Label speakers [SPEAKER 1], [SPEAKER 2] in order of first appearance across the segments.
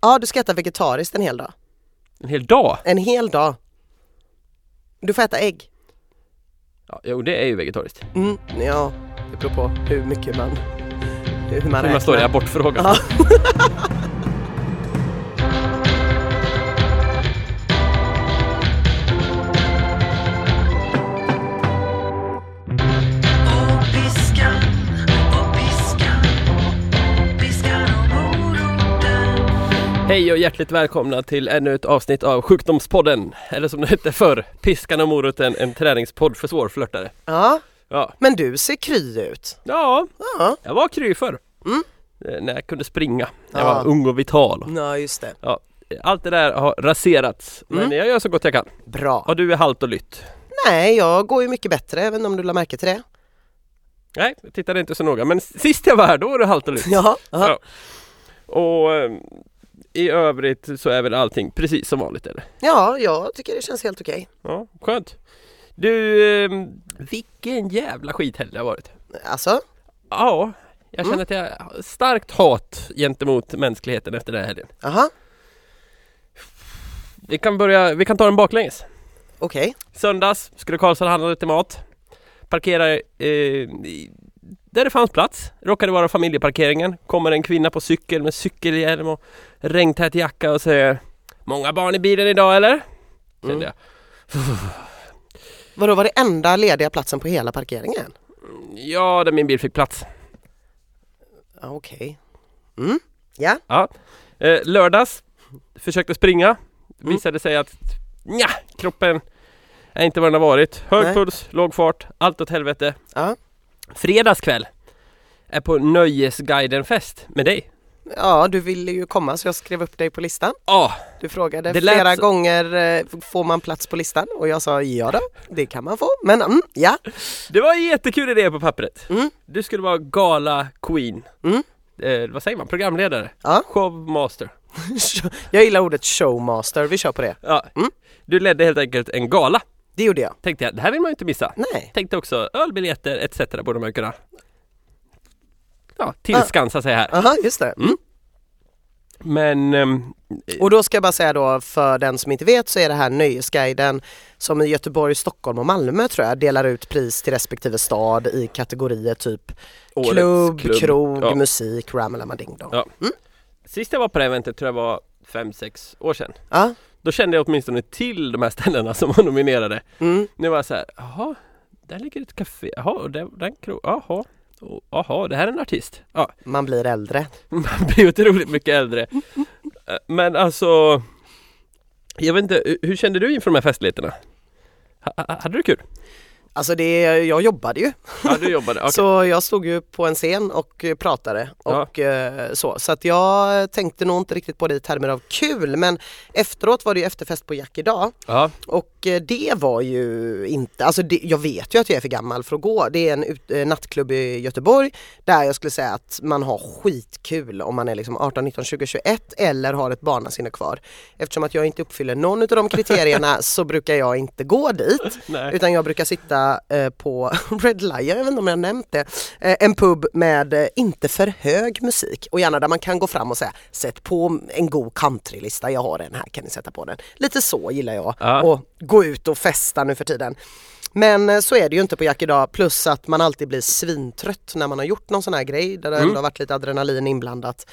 [SPEAKER 1] Ja, du ska äta vegetariskt en hel dag.
[SPEAKER 2] En hel dag?
[SPEAKER 1] En hel dag. Du får äta ägg.
[SPEAKER 2] Ja, jo, det är ju vegetariskt.
[SPEAKER 1] Mm, ja, det beror på hur mycket man, hur man
[SPEAKER 2] Hur man står i
[SPEAKER 1] räknar.
[SPEAKER 2] abortfrågan.
[SPEAKER 1] Ja.
[SPEAKER 3] Och piskan, och piskan, piskan och moroten.
[SPEAKER 2] Hej och hjärtligt välkomna till ännu ett avsnitt av Sjukdomspodden. Eller som det hette förr, Piskan och moroten, en träningspodd för svårflörtare.
[SPEAKER 1] ja,
[SPEAKER 2] Ja,
[SPEAKER 1] men du ser kry ut.
[SPEAKER 2] ja
[SPEAKER 1] Ja,
[SPEAKER 2] jag var kry förr.
[SPEAKER 1] Mm.
[SPEAKER 2] Eh, När jag kunde springa. Jag
[SPEAKER 1] Ja.
[SPEAKER 2] var ung och vital.
[SPEAKER 1] ja just det.
[SPEAKER 2] Allt det där har raserats, men
[SPEAKER 1] Mm.
[SPEAKER 2] jag gör så gott jag kan.
[SPEAKER 1] Bra.
[SPEAKER 2] Och du är halt och lytt.
[SPEAKER 1] Nej, jag går ju mycket bättre, även om du la märke till det.
[SPEAKER 2] Nej, jag tittade inte så noga, men sist jag var här då var du halt och lytt.
[SPEAKER 1] Ja,
[SPEAKER 2] Ja. Och eh, i övrigt så är väl allting precis som vanligt eller?
[SPEAKER 1] ja jag tycker det känns helt okej.
[SPEAKER 2] Ja, skönt. Du, eh, vilken jävla skithelg det har varit. Mm.
[SPEAKER 1] Alltså,
[SPEAKER 2] Ja, jag känner att jag har starkt hat gentemot mänskligheten efter den här helgen.
[SPEAKER 1] aha,
[SPEAKER 2] Vi kan börja, vi kan ta den baklänges.
[SPEAKER 1] okej.
[SPEAKER 2] Söndags skulle Karlsson handla lite mat. Parkerar eh, i- där det fanns plats. Råkade vara familjeparkeringen. Kommer en kvinna på cykel med cykelhjälm och regntät jacka och säger Många barn i bilen idag eller? Kände
[SPEAKER 1] Mm.
[SPEAKER 2] jag.
[SPEAKER 1] Vadå, var det enda lediga platsen på hela parkeringen?
[SPEAKER 2] Ja, där min bil fick plats.
[SPEAKER 1] Ja, okej. Mm, ja.
[SPEAKER 2] Eh, lördags försökte springa.
[SPEAKER 1] Mm.
[SPEAKER 2] Visade sig att nja, kroppen är inte vad den har varit. Hög
[SPEAKER 1] Nej.
[SPEAKER 2] puls, låg fart, allt åt helvete.
[SPEAKER 1] Ja.
[SPEAKER 2] Fredags kväll är på Nöjesguiden-fest med dig.
[SPEAKER 1] Ja, du ville ju komma så jag skrev upp dig på listan.
[SPEAKER 2] Ja,
[SPEAKER 1] Du frågade
[SPEAKER 2] Det lät
[SPEAKER 1] flera
[SPEAKER 2] så-
[SPEAKER 1] gånger, eh, får man plats på listan? Och jag sa ja då, det kan man få. Men mm, ja,
[SPEAKER 2] det var en jättekul idé på pappret.
[SPEAKER 1] Mm.
[SPEAKER 2] Du skulle vara gala queen.
[SPEAKER 1] Mm.
[SPEAKER 2] Eh, vad säger man? Programledare?
[SPEAKER 1] Ja.
[SPEAKER 2] Showmaster.
[SPEAKER 1] jag gillar ordet showmaster, vi kör på det.
[SPEAKER 2] Ja.
[SPEAKER 1] Mm.
[SPEAKER 2] Du ledde helt enkelt en gala.
[SPEAKER 1] Det gjorde jag.
[SPEAKER 2] Tänkte jag, det här vill man ju inte missa.
[SPEAKER 1] Nej,
[SPEAKER 2] Tänkte också ölbiljetter etc. borde man ju kunna
[SPEAKER 1] Ah.
[SPEAKER 2] ja, tillskansa sig här.
[SPEAKER 1] aha, just det. Mm.
[SPEAKER 2] Men ehm,
[SPEAKER 1] Och då ska jag bara säga då för den som inte vet så är det här Nöjesguiden som i Göteborg, Stockholm och Malmö tror jag delar ut pris till respektive stad i kategorier typ
[SPEAKER 2] årets
[SPEAKER 1] klubb, krog,
[SPEAKER 2] ja.
[SPEAKER 1] musik, ramalama ding dong.
[SPEAKER 2] Ja. Sist jag var på det här eventet tror jag var 5-6 år sedan.
[SPEAKER 1] Ja.
[SPEAKER 2] Då kände jag åtminstone till de här ställena som var nominerade.
[SPEAKER 1] Mm.
[SPEAKER 2] Nu var jag så här, jaha, där ligger ett café, jaha, och där, den krog, jaha, och jaha, det här är en artist. Ja,
[SPEAKER 1] Man blir äldre.
[SPEAKER 2] man blir otroligt mycket äldre. Eh, Men alltså, jag vet inte, hur kände du inför de här festligheterna? Ha- ha- Hade du kul?
[SPEAKER 1] Alltså det, jag jobbade ju
[SPEAKER 2] Ja, du jobbade, okej.
[SPEAKER 1] Så jag stod ju på en scen och eh, pratade och eh, så. Så att jag tänkte nog inte riktigt på det i termer av kul men efteråt var det ju efterfest på Jack idag
[SPEAKER 2] Ja.
[SPEAKER 1] och eh, det var ju inte, alltså det, jag vet ju att jag är för gammal för att gå. Det är en ut, eh, nattklubb i Göteborg där jag skulle säga att man har skitkul om man är liksom 18, 19, 20, 21 eller har ett barnasinne kvar. Eftersom att jag inte uppfyller någon av de kriterierna så brukar jag inte gå dit.
[SPEAKER 2] Nej.
[SPEAKER 1] Utan jag brukar sitta eh, på Red Lion, jag vet inte om jag har nämnt det, eh, en pub med eh, inte för hög musik och gärna där man kan gå fram och säga sätt på en god countrylista, jag har den här, kan ni sätta på den. Lite så gillar jag
[SPEAKER 2] Ja.
[SPEAKER 1] och gå ut och festa nu för tiden. Men eh, så är det ju inte på Jack idag plus att man alltid blir svintrött när man har gjort någon sån här grej där det ändå har varit lite adrenalin inblandat.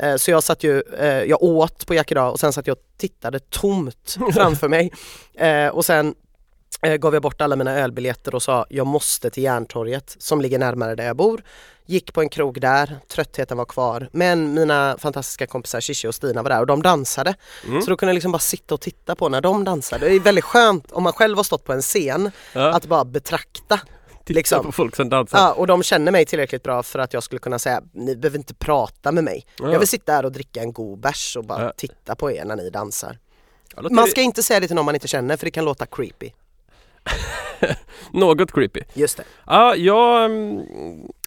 [SPEAKER 1] Eh, Så jag satt ju, eh, jag åt på Jack idag och sen satt jag och tittade tomt framför mig. Eh, Och sen eh, gav jag bort alla mina ölbiljetter och sa jag måste till Järntorget som ligger närmare där jag bor. Gick på en krog där, tröttheten var kvar men mina fantastiska kompisar Shishi och Stina var där och de dansade.
[SPEAKER 2] Mm.
[SPEAKER 1] Så då kunde jag liksom bara sitta och titta på när de dansade. Det är väldigt skönt om man själv har stått på en scen
[SPEAKER 2] Ja.
[SPEAKER 1] att bara betrakta.
[SPEAKER 2] Titta
[SPEAKER 1] liksom.
[SPEAKER 2] på folk som dansar.
[SPEAKER 1] Ja, och de känner mig tillräckligt bra för att jag skulle kunna säga ni behöver inte prata med mig.
[SPEAKER 2] Ja.
[SPEAKER 1] Jag vill sitta här och dricka en god bärs och bara
[SPEAKER 2] Ja.
[SPEAKER 1] titta på er när ni dansar.
[SPEAKER 2] Ja, låter
[SPEAKER 1] Man
[SPEAKER 2] ju
[SPEAKER 1] ska inte säga det till någon man inte känner för det kan låta creepy.
[SPEAKER 2] Något creepy.
[SPEAKER 1] Just det.
[SPEAKER 2] Ja, jag mm,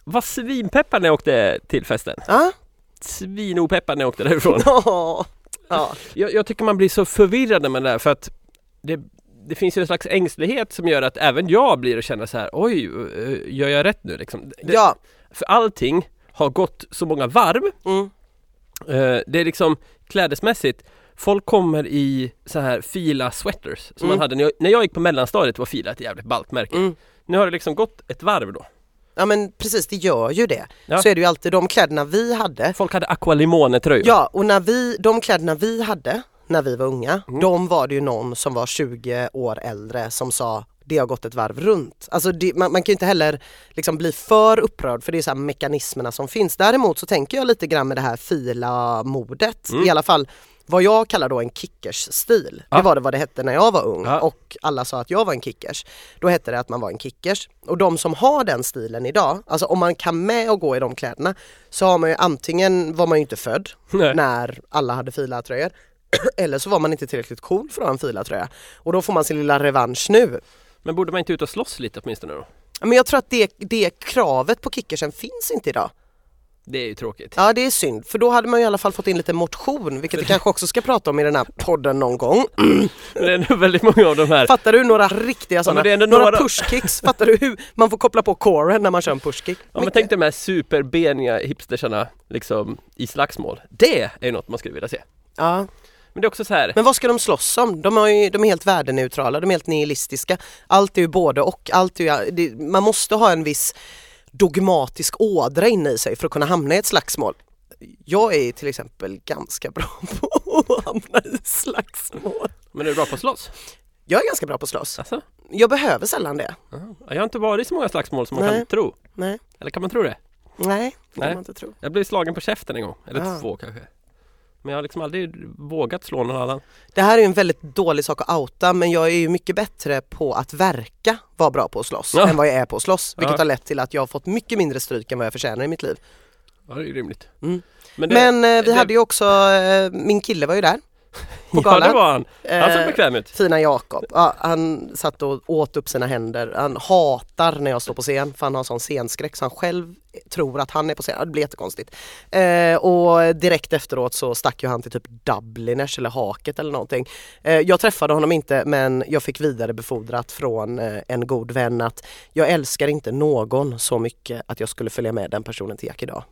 [SPEAKER 2] var svinpeppad när jag åkte till festen.
[SPEAKER 1] Ja.
[SPEAKER 2] Svinopeppad när jag åkte därifrån.
[SPEAKER 1] Ja. Ja.
[SPEAKER 2] jag, jag tycker man blir så förvirrad när man är där för att det, det finns ju en slags ängslighet som gör att även jag blir och känner så här, oj, eh, gör jag rätt nu liksom? Det,
[SPEAKER 1] ja.
[SPEAKER 2] För allting har gått så många varv
[SPEAKER 1] Mm.
[SPEAKER 2] Eh, det är liksom klädesmässigt Folk kommer i så här fila sweaters
[SPEAKER 1] Mm.
[SPEAKER 2] som man hade när jag, när jag gick på mellanstadiet var fila ett jävligt ballt märke.
[SPEAKER 1] Mm.
[SPEAKER 2] Nu har det liksom gått ett varv då.
[SPEAKER 1] Ja men precis, det gör ju det.
[SPEAKER 2] Ja.
[SPEAKER 1] Så är det ju alltid de kläderna vi hade.
[SPEAKER 2] Folk hade aqualimone tröjor.
[SPEAKER 1] Ja, och när vi, de kläderna vi hade när vi var unga,
[SPEAKER 2] Mm.
[SPEAKER 1] de var det ju någon som var 20 år äldre som sa det har gått ett varv runt. Alltså det, man, man kan ju inte heller liksom bli för upprörd för det är så här mekanismerna som finns. Däremot så tänker jag lite grann med det här fila-modet, i alla fall vad jag kallar då en kickers-stil.
[SPEAKER 2] Mm. Ja.
[SPEAKER 1] Det var det vad det hette när jag var ung
[SPEAKER 2] Ja.
[SPEAKER 1] och alla sa att jag var en kickers. Då hette det att man var en kickers. Och de som har den stilen idag, alltså om man kan med och gå i de kläderna så har man ju antingen var man ju inte född
[SPEAKER 2] Nej.
[SPEAKER 1] när alla hade filatröjor eller så var man inte tillräckligt cool för att ha en filatröja. Och då får man sin lilla revansch nu.
[SPEAKER 2] Men borde man inte ut och slåss lite åtminstone då?
[SPEAKER 1] Men jag tror att det, det kravet på kickersen finns inte idag.
[SPEAKER 2] Det är ju tråkigt.
[SPEAKER 1] Ja det är synd, för då hade man ju i alla fall fått in lite motion, vilket vi kanske också ska prata om i den här podden någon gång.
[SPEAKER 2] Men det är nog väldigt många av de här.
[SPEAKER 1] Fattar du några riktiga sådana?
[SPEAKER 2] men det är ändå
[SPEAKER 1] några,
[SPEAKER 2] några-
[SPEAKER 1] pushkicks, fattar du hur man får koppla på coren när man kör en pushkick?
[SPEAKER 2] Ja, men tänk dig de här superbeniga hipstersarna liksom i slagsmål. Det är ju något man skulle vilja se.
[SPEAKER 1] ja.
[SPEAKER 2] Men det är också så här.
[SPEAKER 1] Men vad ska de slåss om? De, har ju, de är helt värdeneutrala, de är helt nihilistiska. Allt är ju både och. Allt är ju, det, man måste ha en viss dogmatisk ådra inne i sig för att kunna hamna i ett slagsmål. Jag är till exempel ganska bra på att hamna i slagsmål.
[SPEAKER 2] Men är du bra på att slåss?
[SPEAKER 1] Jag är ganska bra på att slåss.
[SPEAKER 2] Alltså?
[SPEAKER 1] Jag behöver sällan det.
[SPEAKER 2] Aha. Jag har inte varit i så många slagsmål som man
[SPEAKER 1] Nej.
[SPEAKER 2] kan tro.
[SPEAKER 1] Nej,
[SPEAKER 2] Eller kan man tro det?
[SPEAKER 1] nej, det kan
[SPEAKER 2] Nej.
[SPEAKER 1] man inte tro.
[SPEAKER 2] Jag blev slagen på käften en gång, eller
[SPEAKER 1] Ah.
[SPEAKER 2] två kanske. Men jag har liksom aldrig vågat slå någon annan.
[SPEAKER 1] Det här är ju en väldigt dålig sak att outa men jag är ju mycket bättre på att verka vara bra på att slåss
[SPEAKER 2] Ja.
[SPEAKER 1] än vad jag är på att slåss. Vilket
[SPEAKER 2] Ja.
[SPEAKER 1] har lett till att jag har fått mycket mindre stryk än vad jag förtjänar i mitt liv.
[SPEAKER 2] Ja, det är ju rimligt.
[SPEAKER 1] Mm.
[SPEAKER 2] Men, det,
[SPEAKER 1] Men eh, vi
[SPEAKER 2] det-
[SPEAKER 1] hade ju också, eh, min kille var ju där på
[SPEAKER 2] ja,
[SPEAKER 1] galan.
[SPEAKER 2] det var han. Han såg
[SPEAKER 1] Eh,
[SPEAKER 2] bekväm ut.
[SPEAKER 1] Fina Jakob, ja, han satt och åt upp sina händer. Han hatar när jag står på scen för han har sån scenskräck så han själv tror att han är på scen. Ja, Det blir jättekonstigt. Eh, och direkt efteråt så stack ju han till typ Dubliners eller Haket eller någonting. Eh, jag träffade honom inte men jag fick vidarebefordrat från eh, en god vän att jag älskar inte någon så mycket att jag skulle följa med den personen till Jack idag.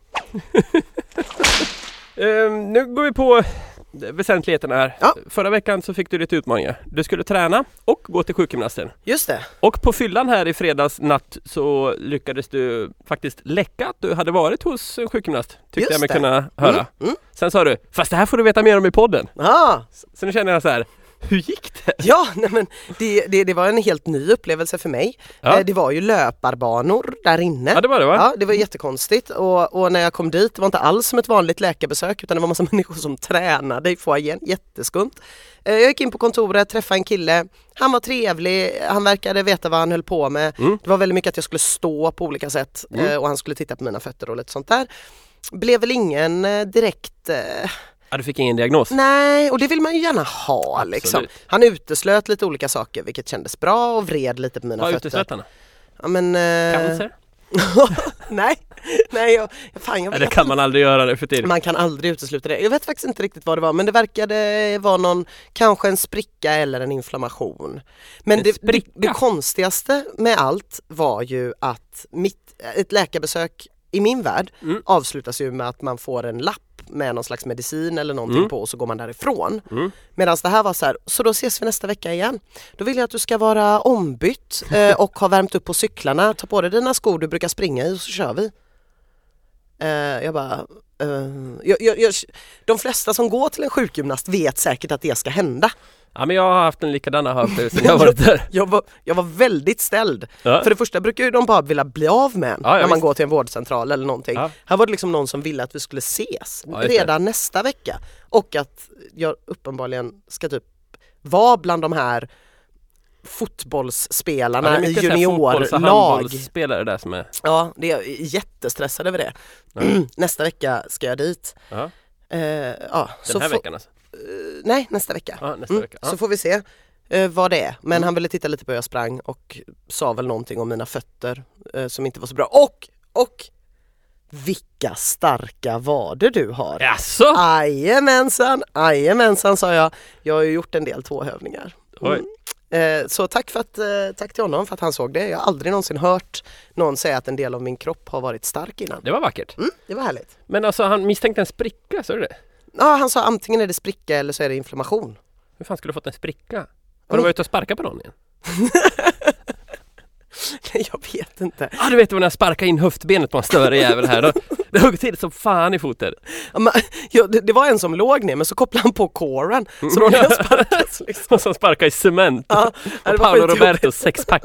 [SPEAKER 2] Ehm, nu går vi på väsentligheterna här.
[SPEAKER 1] Ja.
[SPEAKER 2] Förra veckan så fick du lite utmaningar. Du skulle träna och gå till sjukgymnasten.
[SPEAKER 1] Just det,
[SPEAKER 2] Och på fyllan här i fredags natt så lyckades du faktiskt läcka att du hade varit hos en sjukgymnast. Tyckte
[SPEAKER 1] Just
[SPEAKER 2] jag mig
[SPEAKER 1] det.
[SPEAKER 2] kunna höra.
[SPEAKER 1] Mm, mm.
[SPEAKER 2] Sen sa du, fast det här får du veta mer om i podden.
[SPEAKER 1] ah,
[SPEAKER 2] Så nu känner jag så här, hur gick det?
[SPEAKER 1] Ja, nej men det, det, det var en helt ny upplevelse för mig.
[SPEAKER 2] Ja.
[SPEAKER 1] Eh, Det var ju löparbanor där inne.
[SPEAKER 2] Ja det var det va?
[SPEAKER 1] Eh. Ja, det var jättekonstigt och, och när jag kom dit, det var inte alls som ett vanligt läkarbesök utan det var massa människor som tränade i foajén, jätteskumt. Eh, Jag gick in på kontoret, träffade en kille, han var trevlig, han verkade veta vad han höll på med.
[SPEAKER 2] Mm.
[SPEAKER 1] Det var väldigt mycket att jag skulle stå på olika sätt eh, och han skulle titta på mina fötter och lite sånt där. Blev väl ingen eh, direkt eh,
[SPEAKER 2] Ja, du fick ingen diagnos?
[SPEAKER 1] Nej, och det vill man ju gärna ha liksom.
[SPEAKER 2] Absolut.
[SPEAKER 1] Han uteslöt lite olika saker vilket kändes bra och vred lite på mina
[SPEAKER 2] Vad
[SPEAKER 1] fötter.
[SPEAKER 2] uteslöt han?
[SPEAKER 1] Ja, men, eh,
[SPEAKER 2] Cancer?
[SPEAKER 1] nej, nej jag, fan, jag
[SPEAKER 2] Ja,
[SPEAKER 1] vet.
[SPEAKER 2] det kan man aldrig göra nu för tiden.
[SPEAKER 1] Man kan aldrig utesluta det. Jag vet faktiskt inte riktigt vad det var men det verkade vara någon, kanske en spricka eller en inflammation. Men
[SPEAKER 2] En
[SPEAKER 1] det, det,
[SPEAKER 2] spricka?
[SPEAKER 1] det konstigaste med allt var ju att mitt, ett läkarbesök i min värld
[SPEAKER 2] Mm.
[SPEAKER 1] avslutas ju med att man får en lapp med någon slags medicin eller någonting
[SPEAKER 2] Mm.
[SPEAKER 1] på och så går man därifrån.
[SPEAKER 2] Mm.
[SPEAKER 1] Medan det här var så här, så då ses vi nästa vecka igen. Då vill jag att du ska vara ombytt eh, och ha värmt upp på cyklarna, ta på dig dina skor du brukar springa i och så kör vi. Eh, jag bara, eh, jag, jag, jag, de flesta som går till en sjukgymnast vet säkert att det ska hända.
[SPEAKER 2] Ja men jag har haft en likadan upplevelse när jag har varit där.
[SPEAKER 1] Jag var, jag var väldigt ställd.
[SPEAKER 2] Ja.
[SPEAKER 1] För det första brukar ju de bara vilja bli av med en
[SPEAKER 2] Ja, ja,
[SPEAKER 1] när man
[SPEAKER 2] visst.
[SPEAKER 1] går till en vårdcentral eller någonting.
[SPEAKER 2] Ja.
[SPEAKER 1] Här var det liksom någon som ville att vi skulle ses
[SPEAKER 2] Ja, just det.
[SPEAKER 1] redan nästa vecka. Och att jag uppenbarligen ska typ vara bland de här
[SPEAKER 2] Ja, det är
[SPEAKER 1] fotbollsspelarna i
[SPEAKER 2] mycket så här fotbolls- och
[SPEAKER 1] juniorlag.
[SPEAKER 2] handbollsspelare där som är...
[SPEAKER 1] Ja, det är jag jättestressad över det. nästa vecka ska jag dit.
[SPEAKER 2] Mm. Ja,
[SPEAKER 1] Eh, ja,
[SPEAKER 2] den här
[SPEAKER 1] få-
[SPEAKER 2] veckan alltså?
[SPEAKER 1] Nej, nästa vecka.
[SPEAKER 2] Ja, nästa
[SPEAKER 1] Mm,
[SPEAKER 2] vecka. Ja. Mm.
[SPEAKER 1] Så får vi se eh, vad det är. Men han ville titta lite på hur jag sprang och sa väl någonting om mina fötter eh, som inte var så bra. Och, och vilka starka vader du har!
[SPEAKER 2] Jaså?
[SPEAKER 1] Ah. Jajamensan, jajamensan sa jag. Jag har ju gjort en del tåhövningar.
[SPEAKER 2] Oj.
[SPEAKER 1] Eh, Så tack, för att, eh, tack till honom för att han såg det. Jag har aldrig någonsin hört någon säga att en del av min kropp har varit stark innan.
[SPEAKER 2] Det var vackert.
[SPEAKER 1] Mm, det var härligt.
[SPEAKER 2] Men alltså han misstänkte en spricka, sa du det?
[SPEAKER 1] Ja, han sa antingen är det spricka eller så är det inflammation.
[SPEAKER 2] Hur fan skulle du fått en spricka? Har
[SPEAKER 1] Mm.
[SPEAKER 2] du varit ute och sparkat på någon igen?
[SPEAKER 1] jag vet inte.
[SPEAKER 2] Ja ah, du vet när jag sparkade in höftbenet på en större jävel här. Då, det högg till som fan i foten.
[SPEAKER 1] Ja, men, ja, det, det var en som låg ner men så kopplade han på coren. Så då blev han sparkad. Liksom.
[SPEAKER 2] Och som sparkar i cement.
[SPEAKER 1] Ja, det
[SPEAKER 2] och
[SPEAKER 1] var
[SPEAKER 2] Paolo
[SPEAKER 1] skitjobbigt.
[SPEAKER 2] Robertos sexpack.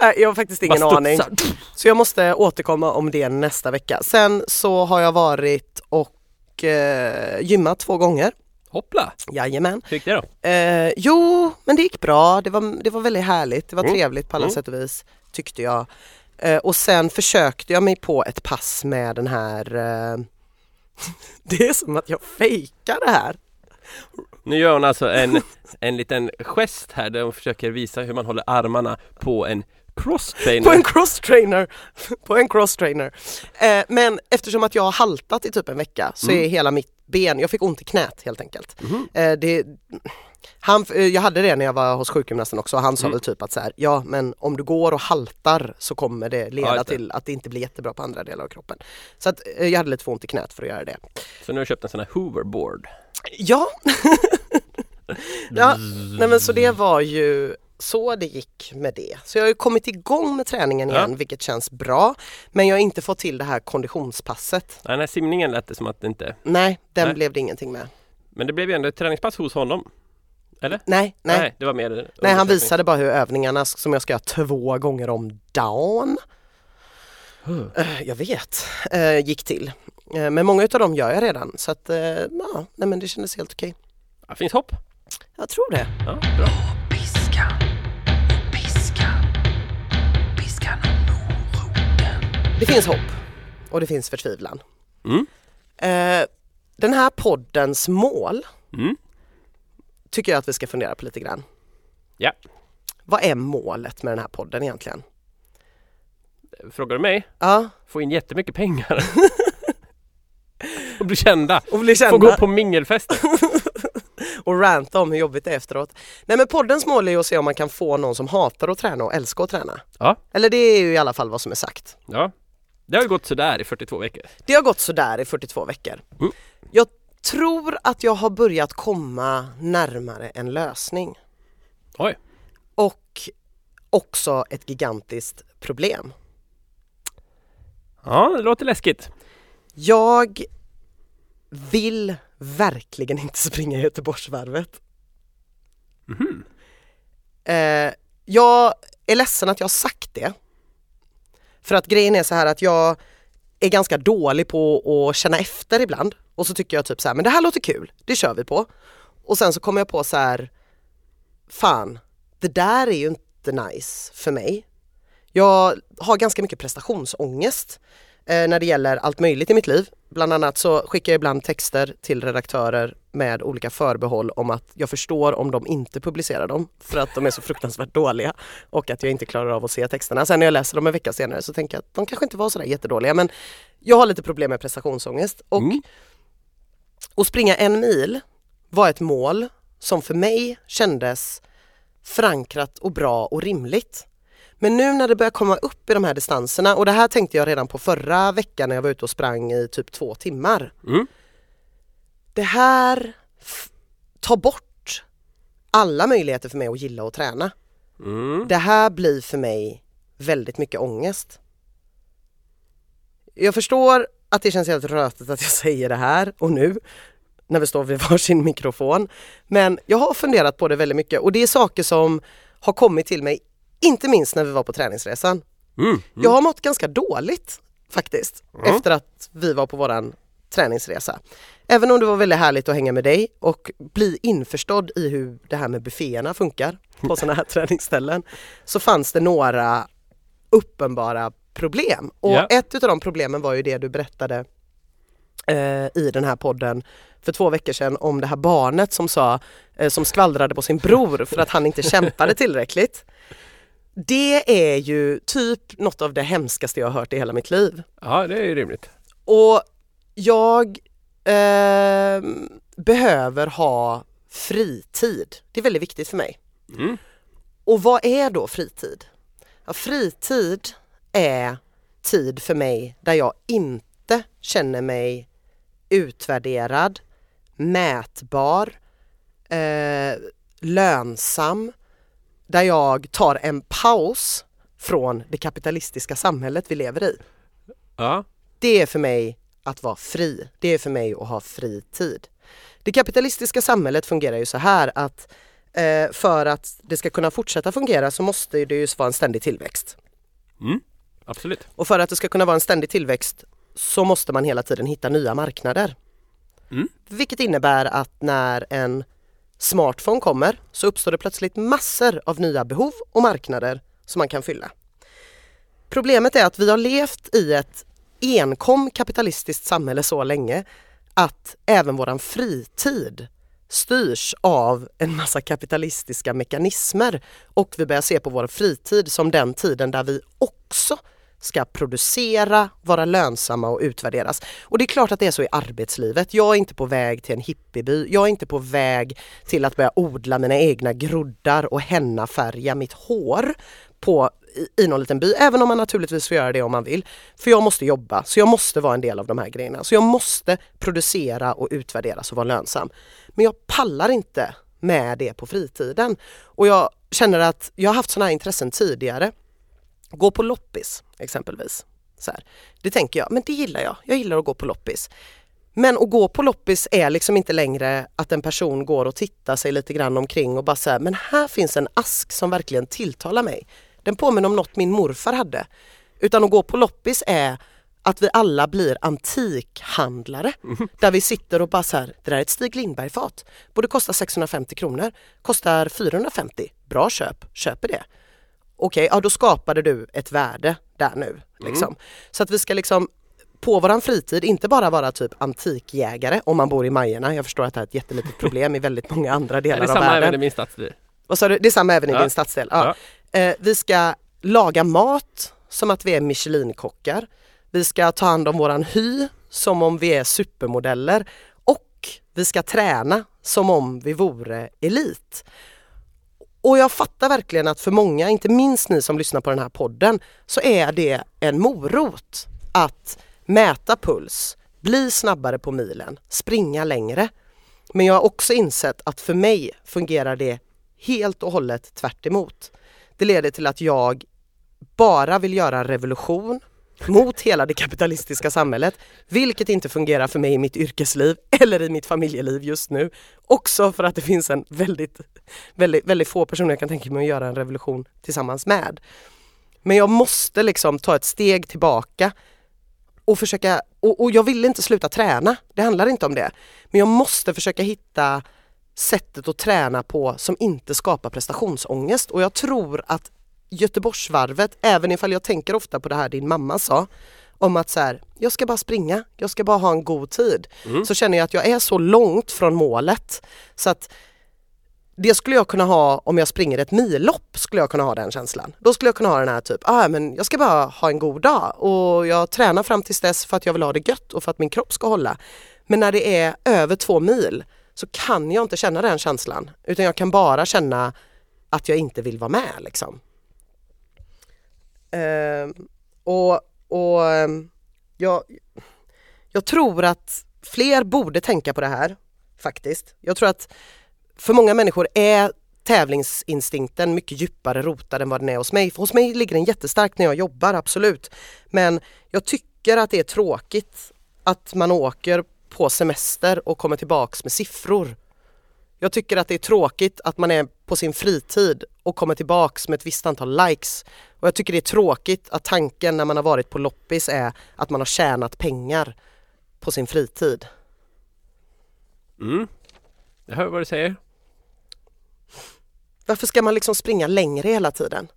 [SPEAKER 1] Nej, Jag har faktiskt ingen
[SPEAKER 2] Bara
[SPEAKER 1] aning.
[SPEAKER 2] studsar.
[SPEAKER 1] Så jag måste återkomma om det nästa vecka. Sen så har jag varit och eh, gymmat två gånger.
[SPEAKER 2] Hoppla!
[SPEAKER 1] Jajamän.
[SPEAKER 2] Hur gick det då?
[SPEAKER 1] Eh, jo, men det gick bra. Det var, det var väldigt härligt. Det var
[SPEAKER 2] Mm.
[SPEAKER 1] trevligt på alla sätt och vis, tyckte jag. Eh, och sen försökte jag mig på ett pass med den här... Eh, det är som att jag fejkar det här.
[SPEAKER 2] Nu gör hon alltså en, en liten gest här där hon försöker visa hur man håller armarna på en
[SPEAKER 1] På
[SPEAKER 2] crosstrainer.
[SPEAKER 1] en crosstrainer. på en crosstrainer. Eh, men eftersom att jag har haltat i typ en vecka så
[SPEAKER 2] Mm.
[SPEAKER 1] är hela mitt ben, jag fick ont i knät helt enkelt.
[SPEAKER 2] Mhm.
[SPEAKER 1] Eh, det, han, eh, jag hade det när jag var hos sjukgymnasten också och han
[SPEAKER 2] Mm.
[SPEAKER 1] sa väl typ att så här, ja men om du går och haltar så kommer det leda
[SPEAKER 2] Ja, just det.
[SPEAKER 1] till att det inte blir jättebra på andra delar av kroppen. Så att eh, jag hade lite för ont i knät för att göra det.
[SPEAKER 2] Så nu har jag köpt en sån här hoverboard.
[SPEAKER 1] Ja, ja nej men så det var ju så det gick med det. Så jag har ju kommit igång med träningen igen vilket känns bra. Men jag har inte fått till det här konditionspasset.
[SPEAKER 2] Nej, Den här simningen lät det som att det inte...
[SPEAKER 1] Nej, den
[SPEAKER 2] Nej.
[SPEAKER 1] blev det ingenting med.
[SPEAKER 2] Men det blev ju ändå ett träningspass hos honom.
[SPEAKER 1] Nej, nej. Nej,
[SPEAKER 2] det var mer
[SPEAKER 1] han visade bara hur övningarna som jag ska göra två gånger om dagen. Eh, Jag vet, eh, gick till. Eh, Men många utav dem gör jag redan så att eh, ja, nej men det kändes helt okej.
[SPEAKER 2] Ja, finns hopp.
[SPEAKER 1] Jag tror det.
[SPEAKER 2] Ja, bra.
[SPEAKER 3] Piskan, piskan, piskan och moroten.
[SPEAKER 1] Det finns hopp och det finns förtvivlan.
[SPEAKER 2] Mm.
[SPEAKER 1] Eh, den här poddens mål
[SPEAKER 2] Mm.
[SPEAKER 1] tycker jag att vi ska fundera på lite grann.
[SPEAKER 2] Ja.
[SPEAKER 1] Vad är målet med den här podden egentligen?
[SPEAKER 2] Frågar du mig?
[SPEAKER 1] Ja,
[SPEAKER 2] Få in jättemycket pengar. och bli kända.
[SPEAKER 1] och bli
[SPEAKER 2] Få
[SPEAKER 1] kända
[SPEAKER 2] gå på mingelfester.
[SPEAKER 1] och ranta om hur jobbigt det är efteråt. Nej men poddens mål är ju att se om man kan få någon som hatar att träna och älskar att träna.
[SPEAKER 2] Ja.
[SPEAKER 1] Eller det är ju i alla fall vad som är sagt.
[SPEAKER 2] Ja. Det har ju gått sådär i 42 veckor.
[SPEAKER 1] Det har gått sådär i 42 veckor.
[SPEAKER 2] Mm.
[SPEAKER 1] Jag tror att jag har börjat komma närmare en lösning.
[SPEAKER 2] Oj.
[SPEAKER 1] och också ett gigantiskt problem.
[SPEAKER 2] Ja, det låter läskigt.
[SPEAKER 1] Jag vill verkligen inte springa Göteborgsvarvet. Eh, jag är ledsen att jag har sagt det. För att grejen är så här att jag är ganska dålig på att känna efter ibland och så tycker jag typ så här, men det här låter kul, det kör vi på. Och sen så kommer jag på så här, fan, det där är ju inte nice för mig. Jag har ganska mycket prestationsångest eh, när det gäller allt möjligt i mitt liv. Bland annat så skickar jag ibland texter till redaktörer med olika förbehåll om att jag förstår om de inte publicerar dem för att de är så fruktansvärt dåliga och att jag inte klarar av att se texterna. Sen när jag läser dem en vecka senare så tänker jag att de kanske inte var sådär jättedåliga men jag har lite problem med prestationsångest och
[SPEAKER 2] Mm.
[SPEAKER 1] att springa en mil var ett mål som för mig kändes förankrat och bra och rimligt. Men nu när det börjar komma upp i de här distanserna och det här tänkte jag redan på förra veckan när jag var ute och sprang i typ två timmar.
[SPEAKER 2] Mm.
[SPEAKER 1] Det här f- tar bort alla möjligheter för mig att gilla och träna.
[SPEAKER 2] Mm.
[SPEAKER 1] Det här blir för mig väldigt mycket ångest. Jag förstår att det känns helt rötet att jag säger det här och nu när vi står vid varsin mikrofon. Men jag har funderat på det väldigt mycket och det är saker som har kommit till mig, inte minst när vi var på träningsresan.
[SPEAKER 2] Mm.
[SPEAKER 1] Jag har mått ganska dåligt faktiskt efter att vi var på våran träningsresa. Även om det var väldigt härligt att hänga med dig och bli införstådd i hur det här med bufféerna funkar på sådana här träningsställen så fanns det några uppenbara problem. Och
[SPEAKER 2] Ja.
[SPEAKER 1] ett av de problemen var ju det du berättade eh, i den här podden för två veckor sedan om det här barnet som sa, eh, som skvallrade på sin bror för att han inte kämpade tillräckligt. Det är ju typ något av det hemskaste jag har hört i hela mitt liv.
[SPEAKER 2] Ja, det är ju rimligt.
[SPEAKER 1] Och jag ehm, behöver ha fritid. Det är väldigt viktigt för mig.
[SPEAKER 2] Mm.
[SPEAKER 1] Och vad är då fritid? Ja, fritid är tid för mig där jag inte känner mig utvärderad, mätbar, eh, lönsam, där jag tar en paus från det kapitalistiska samhället vi lever i.
[SPEAKER 2] Ja.
[SPEAKER 1] Det är för mig att vara fri. Det är för mig att ha fri tid. Det kapitalistiska samhället fungerar ju så här att eh, för att det ska kunna fortsätta fungera så måste det ju vara en ständig tillväxt.
[SPEAKER 2] Mm. Absolut.
[SPEAKER 1] Och för att det ska kunna vara en ständig tillväxt så måste man hela tiden hitta nya marknader.
[SPEAKER 2] Mm.
[SPEAKER 1] Vilket innebär att när en smartphone kommer så uppstår det plötsligt massor av nya behov och marknader som man kan fylla. Problemet är att vi har levt i ett enkom kapitalistiskt samhälle så länge att även våran fritid styrs av en massa kapitalistiska mekanismer och vi börjar se på vår fritid som den tiden där vi också ska producera, vara lönsamma och utvärderas. Och det är klart att det är så i arbetslivet. Jag är inte på väg till en hippieby. Jag är inte på väg till att börja odla mina egna groddar och hennafärga mitt hår på, i, i någon liten by. Även om man naturligtvis får göra det om man vill. För jag måste jobba, så jag måste vara en del av de här grejerna. Så jag måste producera och utvärderas och vara lönsam. Men jag pallar inte med det på fritiden. Och jag känner att jag har haft sådana här intressen tidigare gå på loppis exempelvis. Så här. Det tänker jag, men det gillar jag. Jag gillar att gå på loppis. Men att gå på loppis är liksom inte längre att en person går och tittar sig lite grann omkring och bara säger men här finns en ask som verkligen tilltalar mig. Den påminner om något min morfar hade. Utan att gå på loppis är att vi alla blir antikhandlare där vi sitter och bara så här, det där är ett Stig Lindberg-fat. Borde kosta 650 kronor, kostar 450, bra köp, köper det okej, ja då skapade du ett värde där
[SPEAKER 2] Mm.
[SPEAKER 1] nu. Liksom. Så att vi ska liksom på våran fritid inte bara vara typ antikjägare om man bor i Majerna. Jag förstår att det här är ett jättelitet problem i väldigt många andra
[SPEAKER 2] Är det
[SPEAKER 1] delar av
[SPEAKER 2] samma även i
[SPEAKER 1] världen.
[SPEAKER 2] min stadsdel?
[SPEAKER 1] Vad sa du? Det är samma även i
[SPEAKER 2] Ja.
[SPEAKER 1] din stadsdel. Ja. Eh, vi ska laga mat som att vi är Michelinkockar. Vi ska ta hand om våran hy som om vi är supermodeller och vi ska träna som om vi vore elit. Och jag fattar verkligen att för många, inte minst ni som lyssnar på den här podden, så är det en morot att mäta puls, bli snabbare på milen, springa längre. Men jag har också insett att för mig fungerar det helt och hållet tvärt emot. Det leder till att jag bara vill göra revolution mot hela det kapitalistiska samhället, vilket inte fungerar för mig i mitt yrkesliv eller i mitt familjeliv just nu. Också för att det finns en väldigt, väldigt, väldigt få personer jag kan tänka mig att göra en revolution tillsammans med. Men jag måste liksom ta ett steg tillbaka och försöka, och, och jag vill inte sluta träna, det handlar inte om det. Men jag måste försöka hitta sättet att träna på som inte skapar prestationsångest och jag tror att Göteborgsvarvet, även ifall jag tänker ofta på det här din mamma sa, om att så här, jag ska bara springa, jag ska bara ha en god tid. Så känner jag att jag är så långt från målet så att det skulle jag kunna ha om jag springer ett millopp skulle jag kunna ha den känslan. Då skulle jag kunna ha den här typ, ah, men jag ska bara ha en god dag och jag tränar fram tills dess för att jag vill ha det gött och för att min kropp ska hålla. Men när det är över två mil så kan jag inte känna den känslan utan jag kan bara känna att jag inte vill vara med liksom. Ehm, och och ehm, jag, jag tror att fler borde tänka på det här faktiskt. Jag tror att för många människor är tävlingsinstinkten mycket djupare rotad än vad den är hos mig. För hos mig ligger den jättestarkt när jag jobbar, absolut. Men jag tycker att det är tråkigt att man åker på semester och kommer tillbaks med siffror. Jag tycker att det är tråkigt att man är på sin fritid och kommer tillbaks med ett visst antal likes. Och jag tycker det är tråkigt att tanken när man har varit på loppis är att man har tjänat pengar på sin fritid.
[SPEAKER 2] Mm. Jag hör vad du säger.
[SPEAKER 1] Varför ska man liksom springa längre hela tiden?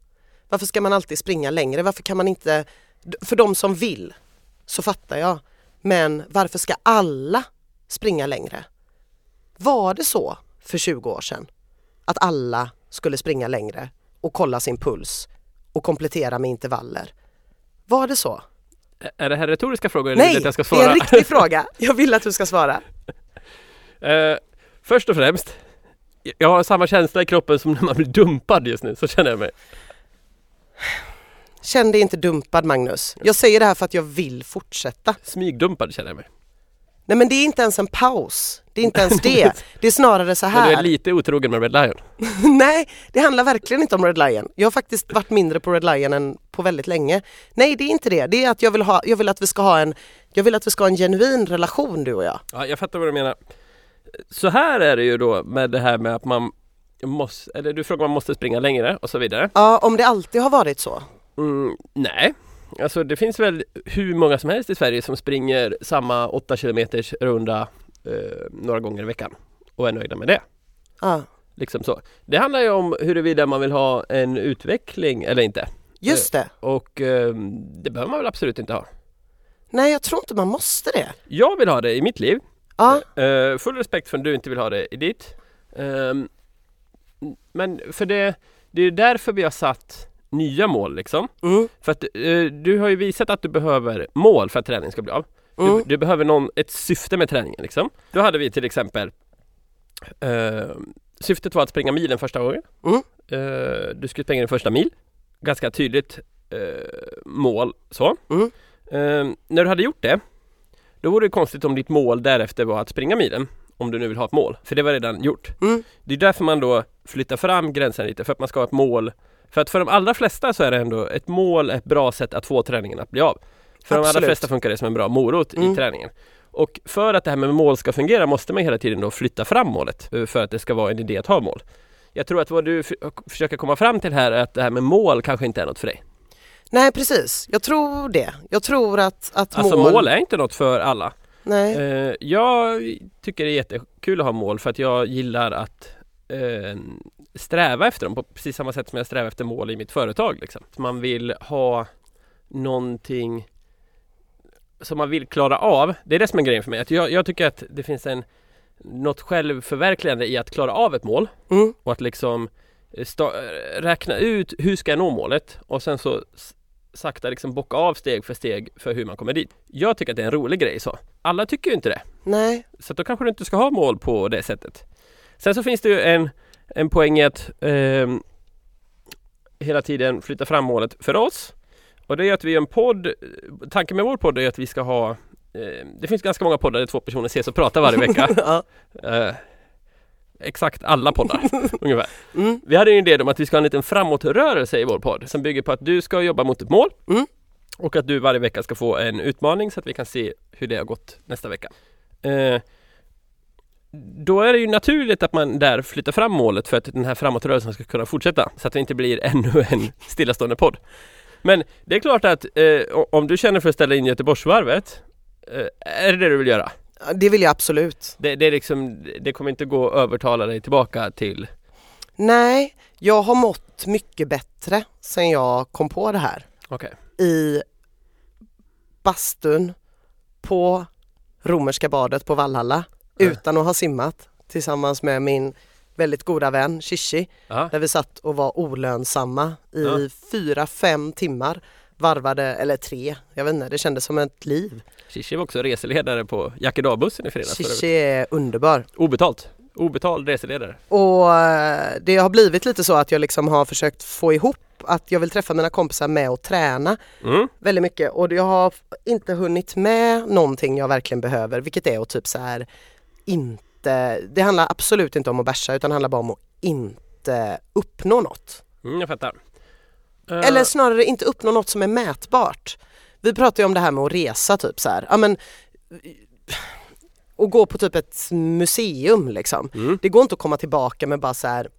[SPEAKER 1] Varför ska man alltid springa längre? Varför kan man inte... För de som vill så fattar jag. Men varför ska alla springa längre? Var det så för 20 år sedan? Att alla skulle springa längre och kolla sin puls och komplettera med intervaller? Var det så?
[SPEAKER 2] Ä- Är det här retoriska frågor eller vill du
[SPEAKER 1] Nej,
[SPEAKER 2] att jag ska
[SPEAKER 1] det är
[SPEAKER 2] svara?
[SPEAKER 1] en riktig fråga. Jag vill att du ska svara.
[SPEAKER 2] Eh, först och främst, jag har samma känsla i kroppen som när man blir dumpad just nu, så känner jag mig.
[SPEAKER 1] Känn dig inte dumpad Magnus. Jag säger det här för att jag vill fortsätta.
[SPEAKER 2] Smygdumpad känner jag mig.
[SPEAKER 1] Nej men det är inte ens en paus. Det är inte ens det. Det är snarare så
[SPEAKER 2] Men du är
[SPEAKER 1] här.
[SPEAKER 2] lite otrogen med Red Lion.
[SPEAKER 1] Nej, det handlar verkligen inte om Red Lion. Jag har faktiskt varit mindre på Red Lion än på väldigt länge. Nej, det är inte det. Det är att jag vill, ha, jag vill att vi ska ha en jag vill att vi ska ha en genuin relation du och jag.
[SPEAKER 2] Ja, jag fattar vad du menar. Så här är det ju då med det här med att man måste, eller du frågar om man måste springa längre och så vidare.
[SPEAKER 1] Ja, om det alltid har varit så.
[SPEAKER 2] Mm, nej, alltså det finns väl hur många som helst i Sverige som springer samma 8 kilometers runda eh, några gånger i veckan och är nöjda med det.
[SPEAKER 1] Ja,
[SPEAKER 2] Liksom så. Det handlar ju om huruvida man vill ha en utveckling eller inte.
[SPEAKER 1] just det.
[SPEAKER 2] Och eh, det behöver man väl absolut inte ha.
[SPEAKER 1] Nej, jag tror inte man måste det.
[SPEAKER 2] Jag vill ha det i mitt liv.
[SPEAKER 1] Ja,
[SPEAKER 2] Eh, full respekt för om du inte vill ha det i ditt. Ehm, men för det, det är ju därför vi har satt nya mål liksom.
[SPEAKER 1] mm,
[SPEAKER 2] För att eh, du har ju visat att du behöver mål för att träningen ska bli av. Du,
[SPEAKER 1] mm,
[SPEAKER 2] du behöver någon, ett syfte med träningen liksom. Då hade vi till exempel eh, Syftet var att springa milen första gången.
[SPEAKER 1] mm,
[SPEAKER 2] Eh, du skulle springa din första mil. Ganska tydligt eh, mål så.
[SPEAKER 1] mm.
[SPEAKER 2] Eh, när du hade gjort det, då vore det konstigt om ditt mål därefter var att springa milen. Om du nu vill ha ett mål, för det var redan gjort.
[SPEAKER 1] Mm.
[SPEAKER 2] Det är därför man då flyttar fram gränsen lite, för att man ska ha ett mål. För att för de allra flesta så är det ändå ett mål ett bra sätt att få träningen att bli av. För de
[SPEAKER 1] Absolut.
[SPEAKER 2] allra flesta funkar det som en bra morot
[SPEAKER 1] Mm.
[SPEAKER 2] i träningen. Och för att det här med mål ska fungera måste man hela tiden då flytta fram målet eh, för att det ska vara en idé att ha mål. Jag tror att vad du f- försöker komma fram till här är att det här med mål kanske inte är något för dig.
[SPEAKER 1] Nej, precis. Jag tror det. Jag tror att, att
[SPEAKER 2] Alltså mål är inte något för alla.
[SPEAKER 1] Nej.
[SPEAKER 2] Eh, jag tycker det är jättekul att ha mål för att jag gillar att eh, sträva efter dem på precis samma sätt som jag strävar efter mål i mitt företag. Liksom. Att Man vill ha någonting som man vill klara av. Det är det som är grejen för mig. Att jag, jag tycker att det finns en, något självförverkligande i att klara av ett mål
[SPEAKER 1] Mm.
[SPEAKER 2] och att liksom eh, sta- räkna ut hur ska jag nå målet och sen så s- sakta liksom bocka av steg för steg för hur man kommer dit. Jag tycker att det är en rolig grej så. Alla tycker ju inte det.
[SPEAKER 1] Nej.
[SPEAKER 2] Så att då kanske du inte ska ha mål på det sättet. Sen så finns det ju en, en poäng i att ehm, hela tiden flytta fram målet för oss. Och det är att vi gör en podd. eh, Tanken med vår podd är att vi ska ha ehm, det finns ganska många poddar där två personer ses och pratar varje vecka.
[SPEAKER 1] Ja.
[SPEAKER 2] Eh, exakt alla poddar ungefär.
[SPEAKER 1] Mm.
[SPEAKER 2] Vi hade ju en idé om att vi ska ha en liten framåtrörelse i vår podd som bygger på att du ska jobba mot ett mål
[SPEAKER 1] Mm.
[SPEAKER 2] och att du varje vecka ska få en utmaning så att vi kan se hur det har gått nästa vecka. Eh, då är det ju naturligt att man där flyttar fram målet för att den här framåtrörelsen ska kunna fortsätta så att det inte blir ännu en stillastående podd. Men det är klart att eh, o- om du känner för att ställa in Göteborgsvarvet eh, är det det du vill göra?
[SPEAKER 1] Det vill jag absolut.
[SPEAKER 2] Det, det, är liksom, det kommer inte gå att övertala dig tillbaka till
[SPEAKER 1] Nej, jag har mått mycket bättre sen jag kom på det här.
[SPEAKER 2] Okej.
[SPEAKER 1] I bastun på Romerska badet på Vallhalla
[SPEAKER 2] Ja.
[SPEAKER 1] utan att ha simmat tillsammans med min väldigt goda vän Shishi
[SPEAKER 2] Ja.
[SPEAKER 1] där vi satt och var olönsamma i
[SPEAKER 2] Ja.
[SPEAKER 1] fyra, fem timmar varvade, eller tre, jag vet inte, det kändes som ett liv.
[SPEAKER 2] Shishi var också reseledare på Jack bussen i fredags. för övrigt.
[SPEAKER 1] Shishi är underbar.
[SPEAKER 2] Obetalt. Obetald reseledare.
[SPEAKER 1] Och eh, det har blivit lite så att jag liksom har försökt få ihop att jag vill träffa mina kompisar med och träna
[SPEAKER 2] Mm.
[SPEAKER 1] väldigt mycket och jag har inte hunnit med någonting jag verkligen behöver vilket är att typ så här inte, det handlar absolut inte om att bärsa utan det handlar bara om att inte uppnå något.
[SPEAKER 2] Mm, jag fattar. Eh,
[SPEAKER 1] Eller snarare inte uppnå något som är mätbart. Vi pratar ju om det här med att resa typ så här. Ja, men, eh, och gå på typ ett museum liksom.
[SPEAKER 2] Mm.
[SPEAKER 1] Det går inte att komma tillbaka med bara så här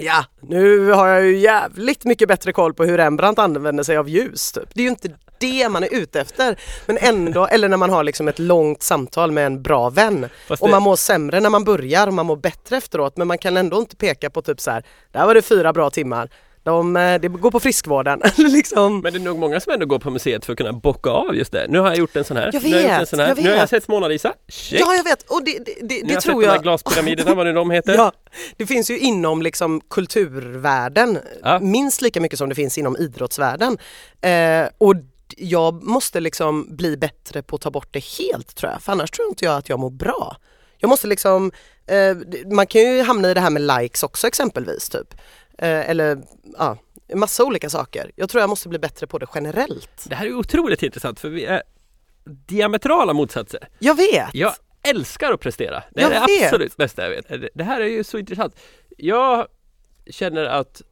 [SPEAKER 1] Ja, nu har jag ju jävligt mycket bättre koll på hur Rembrandt använder sig av ljus typ. Det är ju inte det man är ute efter. Men ändå, eller när man har liksom ett långt samtal med en bra vän.
[SPEAKER 2] Fast
[SPEAKER 1] Och
[SPEAKER 2] det,
[SPEAKER 1] man mår sämre när man börjar och man mår bättre efteråt men man kan ändå inte peka på typ så här, där var det fyra bra timmar, de, eh, det går på friskvården. Eller liksom.
[SPEAKER 2] Men det är nog många som ändå går på museet för att kunna bocka av just det. Nu har jag gjort en sån här.
[SPEAKER 1] Jag
[SPEAKER 2] nu har jag, gjort en
[SPEAKER 1] vet,
[SPEAKER 2] sån här.
[SPEAKER 1] jag
[SPEAKER 2] Nu har jag
[SPEAKER 1] vet.
[SPEAKER 2] sett Mona Lisa. Check.
[SPEAKER 1] Ja jag vet och det, det, det,
[SPEAKER 2] nu har
[SPEAKER 1] det
[SPEAKER 2] jag
[SPEAKER 1] tror
[SPEAKER 2] sett de här
[SPEAKER 1] jag.
[SPEAKER 2] glaspyramiderna, vad nu de heter.
[SPEAKER 1] Ja, det finns ju inom liksom kulturvärlden
[SPEAKER 2] Ja.
[SPEAKER 1] minst lika mycket som det finns inom idrottsvärlden. Eh, och d- jag måste liksom bli bättre på att ta bort det helt tror jag, för annars tror inte jag att jag mår bra. Jag måste liksom, eh, d- man kan ju hamna i det här med likes också exempelvis typ. Eh, eller ja, massa olika saker. Jag tror jag måste bli bättre på det generellt.
[SPEAKER 2] Det här är otroligt intressant för vi är diametrala motsatser.
[SPEAKER 1] Jag vet!
[SPEAKER 2] Jag älskar att prestera. Det
[SPEAKER 1] Jag
[SPEAKER 2] är
[SPEAKER 1] vet.
[SPEAKER 2] det absolut bästa jag vet. Det här är ju så intressant. Jag känner att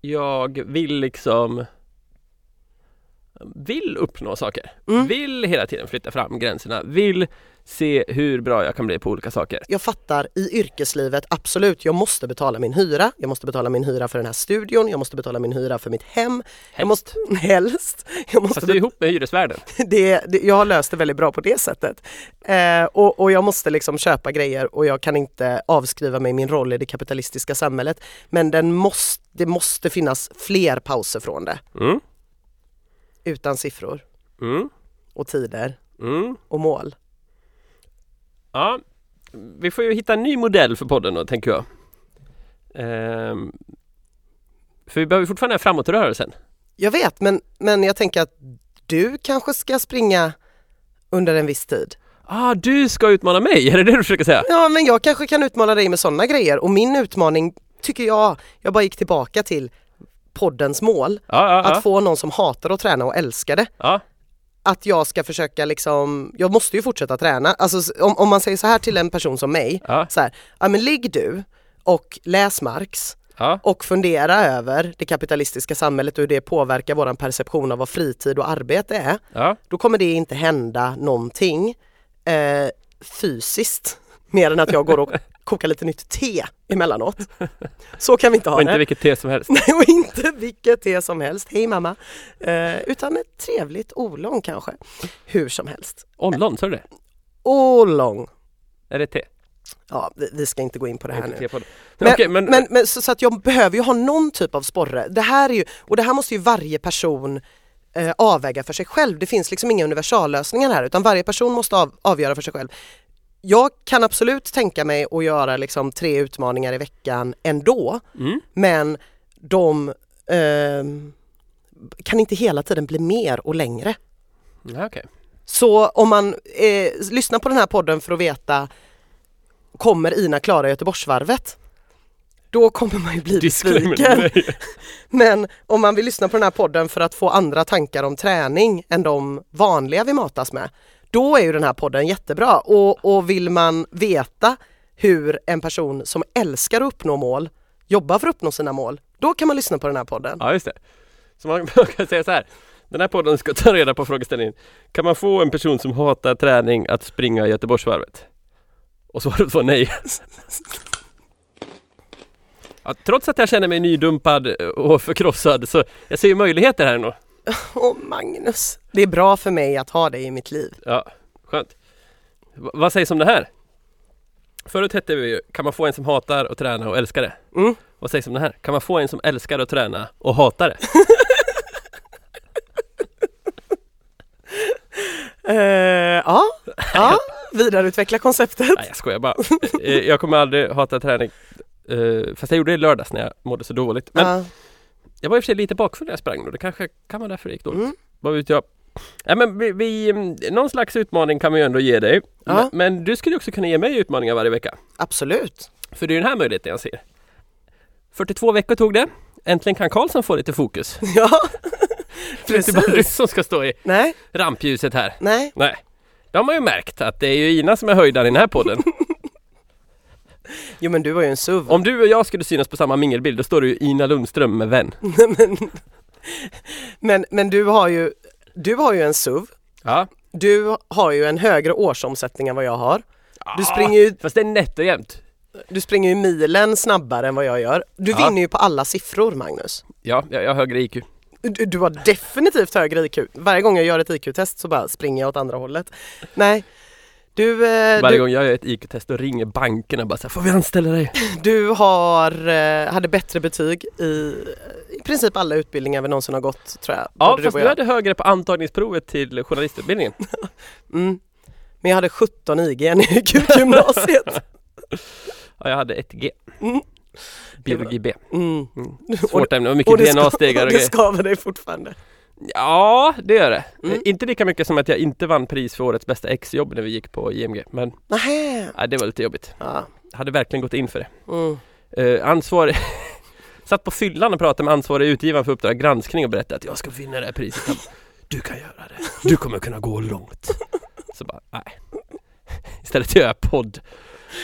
[SPEAKER 2] jag vill liksom vill uppnå saker.
[SPEAKER 1] Mm.
[SPEAKER 2] Vill hela tiden flytta fram gränserna. Vill se hur bra jag kan bli på olika saker.
[SPEAKER 1] Jag fattar i yrkeslivet, absolut, jag måste betala min hyra. Jag måste betala min hyra för den här studion, jag måste betala min hyra för mitt hem. Jag måste, helst. Jag måste
[SPEAKER 2] Fast det är ihop med hyresvärden.
[SPEAKER 1] det, det, jag har löst det väldigt bra på det sättet. Eh, och, och jag måste liksom köpa grejer och jag kan inte avskriva mig min roll i det kapitalistiska samhället. Men den måste, det måste finnas fler pauser från det.
[SPEAKER 2] Mm.
[SPEAKER 1] Utan siffror
[SPEAKER 2] Mm.
[SPEAKER 1] och tider
[SPEAKER 2] Mm.
[SPEAKER 1] och mål.
[SPEAKER 2] Ja, vi får ju hitta en ny modell för podden då, tänker jag. Ehm, för vi behöver fortfarande den här framåtrörelsen.
[SPEAKER 1] Jag vet men, men jag tänker att du kanske ska springa under en viss tid.
[SPEAKER 2] Ah, du ska utmana mig, är det det du försöker säga?
[SPEAKER 1] Ja men jag kanske kan utmana dig med sådana grejer och min utmaning tycker jag, jag bara gick tillbaka till poddens mål.
[SPEAKER 2] Ja, ja, ja.
[SPEAKER 1] Att få någon som hatar att träna och älskar det.
[SPEAKER 2] ja.
[SPEAKER 1] att jag ska försöka liksom, jag måste ju fortsätta träna. Alltså s- om, om man säger så här till en person som mig,
[SPEAKER 2] Ja.
[SPEAKER 1] så här, ja men ligg du och läs Marx
[SPEAKER 2] ja.
[SPEAKER 1] och fundera över det kapitalistiska samhället och hur det påverkar våran perception av vad fritid och arbete är.
[SPEAKER 2] ja.
[SPEAKER 1] Då kommer det inte hända någonting eh, fysiskt mer än att jag går och kokar lite nytt te emellanåt. Så kan vi inte ha
[SPEAKER 2] Och
[SPEAKER 1] det.
[SPEAKER 2] inte vilket te som helst.
[SPEAKER 1] Nej, och inte vilket te som helst, hej mamma, eh, utan ett trevligt ollon kanske. Hur som helst.
[SPEAKER 2] Ollon, sa du det?
[SPEAKER 1] Ollong.
[SPEAKER 2] Är det te?
[SPEAKER 1] Ja, vi- vi ska inte gå in på det här nu.
[SPEAKER 2] Men,
[SPEAKER 1] Men,
[SPEAKER 2] okej,
[SPEAKER 1] men,
[SPEAKER 2] men,
[SPEAKER 1] men, så, så att jag behöver ju ha någon typ av sporre. Det här är ju, och det här måste ju varje person eh, avväga för sig själv. Det finns liksom inga universallösningar här utan varje person måste av, avgöra för sig själv. Jag kan absolut tänka mig att göra liksom tre utmaningar i veckan ändå
[SPEAKER 2] Mm.
[SPEAKER 1] men de ehm, kan inte hela tiden bli mer och längre.
[SPEAKER 2] Ja, okej.
[SPEAKER 1] Så om man eh, lyssnar på den här podden för att veta kommer Ina klara Göteborgsvarvet? Då kommer man ju bli besviken.
[SPEAKER 2] Disclaimer. Nej.
[SPEAKER 1] Men om man vill lyssna på den här podden för att få andra tankar om träning än de vanliga vi matas med, då är ju den här podden jättebra. Och, och vill man veta hur en person som älskar att uppnå mål jobbar för att uppnå sina mål, då kan man lyssna på den här podden.
[SPEAKER 2] Ja, just det. Så man, man kan säga så här. Den här podden ska ta reda på frågeställningen. Kan man få en person som hatar träning att springa Göteborgsvarvet? Och svaret var nej. Ja, trots att jag känner mig nydumpad och förkrossad så jag ser ju möjligheter här ändå.
[SPEAKER 1] Åh Magnus, det är bra för mig att ha dig i mitt liv.
[SPEAKER 2] Ja, skönt. V- vad sägs om det här? Förut hette vi ju, kan man få en som hatar och träna och älskar det?
[SPEAKER 1] Mm.
[SPEAKER 2] Vad sägs om det här? Kan man få en som älskar att träna och hatar det?
[SPEAKER 1] Eh, ja, ja, vidareutveckla konceptet.
[SPEAKER 2] Nej jag skojar bara. Eh, jag kommer aldrig hata träning. Eh, fast jag gjorde det i lördags när jag mådde så dåligt. Men
[SPEAKER 1] Ja.
[SPEAKER 2] jag var i och för sig lite bakfull när jag sprang då. Det kanske kan vara därför det gick dåligt.
[SPEAKER 1] Mm.
[SPEAKER 2] Vad vet jag. Ja, men vi, vi, mm, någon slags utmaning kan vi ju ändå ge dig.
[SPEAKER 1] Ja.
[SPEAKER 2] M- Men du skulle ju också kunna ge mig utmaningar varje vecka.
[SPEAKER 1] Absolut.
[SPEAKER 2] För det är ju den här möjligheten jag ser. 42 veckor tog det. Äntligen kan Karlsson få lite fokus.
[SPEAKER 1] Ja,
[SPEAKER 2] Det är inte bara du som ska stå i
[SPEAKER 1] nej,
[SPEAKER 2] rampljuset här.
[SPEAKER 1] nej.
[SPEAKER 2] Nej. Det har man ju märkt att det är ju Ina som är höjdaren i den här podden.
[SPEAKER 1] Jo men du var ju en SUV.
[SPEAKER 2] Om du och jag skulle synas på samma mingelbild då står det ju Ina Lundström med vän.
[SPEAKER 1] Men, men du, har ju, du har ju en SUV.
[SPEAKER 2] Ja.
[SPEAKER 1] Du har ju en högre årsomsättning än vad jag har. Du springer ju,
[SPEAKER 2] Ah, Fast det är nätt och jämnt.
[SPEAKER 1] du springer ju milen snabbare än vad jag gör. Du
[SPEAKER 2] Ja.
[SPEAKER 1] vinner ju på alla siffror Magnus.
[SPEAKER 2] Ja, jag, jag har högre
[SPEAKER 1] Äh,
[SPEAKER 2] IQ.
[SPEAKER 1] Du, du har definitivt högre IQ. Varje gång jag gör ett IQ-test så bara springer jag åt andra hållet. Nej, du, eh,
[SPEAKER 2] Varje
[SPEAKER 1] du,
[SPEAKER 2] gång jag gör ett IQ-test då ringer bankerna bara så här, får vi anställa dig?
[SPEAKER 1] du har, eh, hade bättre betyg i i princip alla utbildningar vi någonsin har gått tror jag.
[SPEAKER 2] Ja,
[SPEAKER 1] Både
[SPEAKER 2] fast
[SPEAKER 1] och
[SPEAKER 2] du
[SPEAKER 1] jag.
[SPEAKER 2] hade högre på antagningsprovet till journalistutbildningen.
[SPEAKER 1] Mm. Men jag hade 17 IG när jag gick ut gymnasiet.
[SPEAKER 2] Ja, jag hade ett G.
[SPEAKER 1] Mm.
[SPEAKER 2] Biologi B.
[SPEAKER 1] Mm.
[SPEAKER 2] Svårt ämne, och
[SPEAKER 1] Och
[SPEAKER 2] mycket
[SPEAKER 1] det ska-
[SPEAKER 2] DNA-stegar och
[SPEAKER 1] Det
[SPEAKER 2] grejer.
[SPEAKER 1] skaver dig fortfarande.
[SPEAKER 2] Ja, det gör det.
[SPEAKER 1] Mm.
[SPEAKER 2] Eh, Inte lika mycket som att jag inte vann pris för årets bästa exjobb när vi gick på IMG. Men
[SPEAKER 1] Nähä.
[SPEAKER 2] nej, det var lite jobbigt.
[SPEAKER 1] Ja.
[SPEAKER 2] Hade verkligen gått in för det.
[SPEAKER 1] Mm.
[SPEAKER 2] Eh, ansvarig Satt på fyllan och pratade med ansvarig utgivaren för Uppdrag granskning och berättade att jag ska vinna det här priset. Han bara, Du kan göra det. Du kommer kunna gå långt. Så bara, nej. Istället gör jag podd.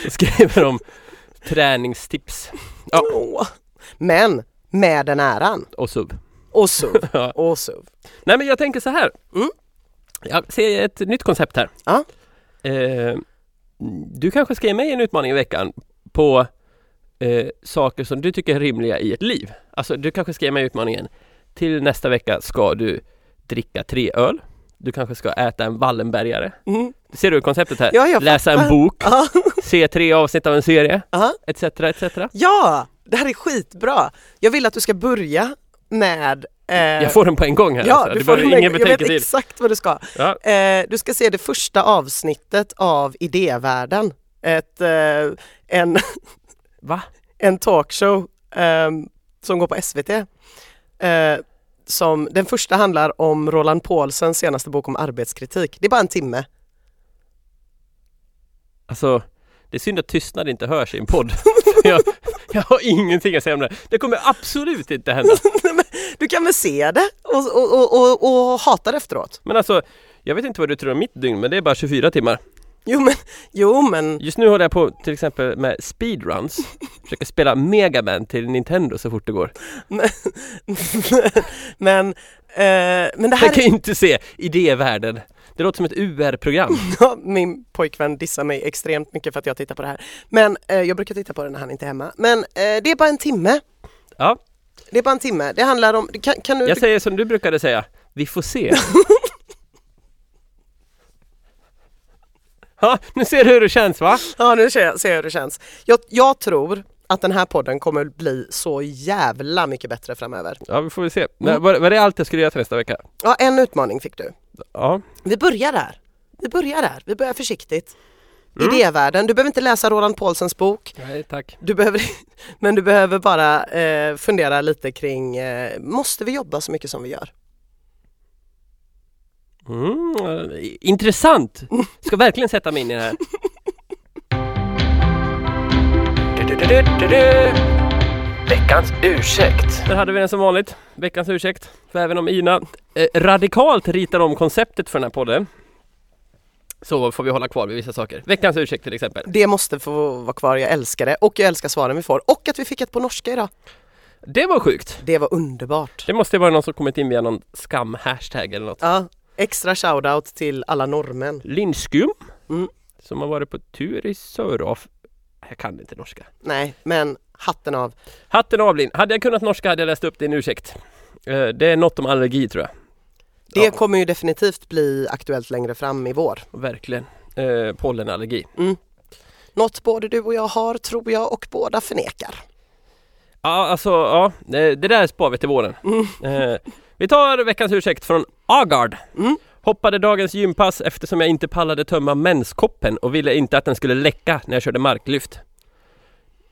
[SPEAKER 2] Så skriver de träningstips Ja.
[SPEAKER 1] Åh. Men med den äran.
[SPEAKER 2] och sub.
[SPEAKER 1] Och SUV.
[SPEAKER 2] Ja.
[SPEAKER 1] Och SUV.
[SPEAKER 2] Nej men jag tänker så här. Jag ser ett nytt koncept här.
[SPEAKER 1] Mm. Ja.
[SPEAKER 2] Eh, du kanske ska ge mig en utmaning i veckan på eh, saker som du tycker är rimliga i ett liv. Alltså du kanske ska ge mig utmaningen. Till nästa vecka ska du dricka tre öl. Du kanske ska äta en Wallenbergare.
[SPEAKER 1] Mm.
[SPEAKER 2] Ser du konceptet här?
[SPEAKER 1] Ja, jag
[SPEAKER 2] Läsa en
[SPEAKER 1] fattar.
[SPEAKER 2] bok,
[SPEAKER 1] Ja.
[SPEAKER 2] se tre avsnitt av en serie,
[SPEAKER 1] Ja.
[SPEAKER 2] etc. etc.
[SPEAKER 1] Ja, det här är skitbra. Jag vill att du ska börja med... eh,
[SPEAKER 2] Jag får den på en gång här.
[SPEAKER 1] ja,
[SPEAKER 2] alltså.
[SPEAKER 1] du
[SPEAKER 2] Det
[SPEAKER 1] får
[SPEAKER 2] behöver
[SPEAKER 1] den.
[SPEAKER 2] ingen
[SPEAKER 1] Jag vet
[SPEAKER 2] betänketid.
[SPEAKER 1] exakt vad du ska.
[SPEAKER 2] Ja.
[SPEAKER 1] Eh, du ska se det första avsnittet av Idévärlden. Ett, eh, en,
[SPEAKER 2] Va?
[SPEAKER 1] en talkshow ehm, som går på SVT. Eh, som, den första handlar om Roland Paulsens senaste bok om arbetskritik. Det är bara en timme.
[SPEAKER 2] Alltså, det är synd att tystnad inte hörs i en podd. För jag, jag har ingenting att säga om det. Det kommer absolut inte hända.
[SPEAKER 1] Du kan väl se det och, och, och, och, och hata det efteråt.
[SPEAKER 2] Men alltså, jag vet inte vad du tror om mitt dygn, men det är bara 24 timmar.
[SPEAKER 1] Jo men, jo, men
[SPEAKER 2] Just nu håller jag på till exempel med speedruns. Försöker spela Mega Man till Nintendo så fort det går.
[SPEAKER 1] men, eh, men det här
[SPEAKER 2] Jag kan ju inte se idévärlden. Det låter som ett UR-program.
[SPEAKER 1] Ja, min pojkvän dissar mig extremt mycket för att jag tittar på det här. Men eh, jag brukar titta på det när han inte är hemma. Men eh, det är bara en timme.
[SPEAKER 2] Ja,
[SPEAKER 1] Det är bara en timme. Det handlar om, det kan, kan du,
[SPEAKER 2] jag säger som du brukade säga. Vi får se. Ja, nu ser du hur det känns va?
[SPEAKER 1] ja nu ser jag, ser jag hur det känns. Jag, jag tror att den här podden kommer bli så jävla mycket bättre framöver.
[SPEAKER 2] Ja, vi får väl se.
[SPEAKER 1] Mm.
[SPEAKER 2] Men Var, var det allt jag skulle göra till nästa vecka?
[SPEAKER 1] Ja, en utmaning fick du.
[SPEAKER 2] Ja.
[SPEAKER 1] Vi börjar där. Vi börjar där. Vi börjar försiktigt.
[SPEAKER 2] Mm.
[SPEAKER 1] Idévärlden, du behöver inte läsa Roland Paulsens bok.
[SPEAKER 2] Nej, tack.
[SPEAKER 1] Du behöver, men du behöver bara eh, fundera lite kring, eh, måste vi jobba så mycket som vi gör?
[SPEAKER 2] Mm, eh, intressant! Ska verkligen sätta mig in i det här.
[SPEAKER 3] Veckans ursäkt.
[SPEAKER 2] Där hade vi den som vanligt. Veckans ursäkt. För även om Ina eh, radikalt ritar om konceptet för den här podden så får vi hålla kvar vid vissa saker. Veckans ursäkt till exempel.
[SPEAKER 1] Det måste få vara kvar, jag älskar det och jag älskar svaren vi får och att vi fick ett på norska idag.
[SPEAKER 2] Det var sjukt!
[SPEAKER 1] Det var underbart.
[SPEAKER 2] Det måste ju vara någon som kommit in via någon skam-hashtag eller något.
[SPEAKER 1] Ja, extra shoutout till alla norrmän.
[SPEAKER 2] Lindskum,
[SPEAKER 1] Mm.
[SPEAKER 2] som har varit på tur i Söraf. Jag kan inte norska.
[SPEAKER 1] Nej, men hatten av.
[SPEAKER 2] Hatten av Linn. Hade jag kunnat norska hade jag läst upp din ursäkt. Eh, Det är något om allergi tror jag.
[SPEAKER 1] Det
[SPEAKER 2] Ja.
[SPEAKER 1] kommer ju definitivt bli aktuellt längre fram i vår.
[SPEAKER 2] Verkligen. Eh, pollenallergi.
[SPEAKER 1] Något både du och jag har tror jag och båda förnekar.
[SPEAKER 2] Ja, alltså ja, det det där spar vi till våren. Eh, vi tar veckans ursäkt från Agard.
[SPEAKER 1] Mm.
[SPEAKER 2] Hoppade dagens gympass eftersom jag inte pallade tömma menskoppen och ville inte att den skulle läcka när jag körde marklyft.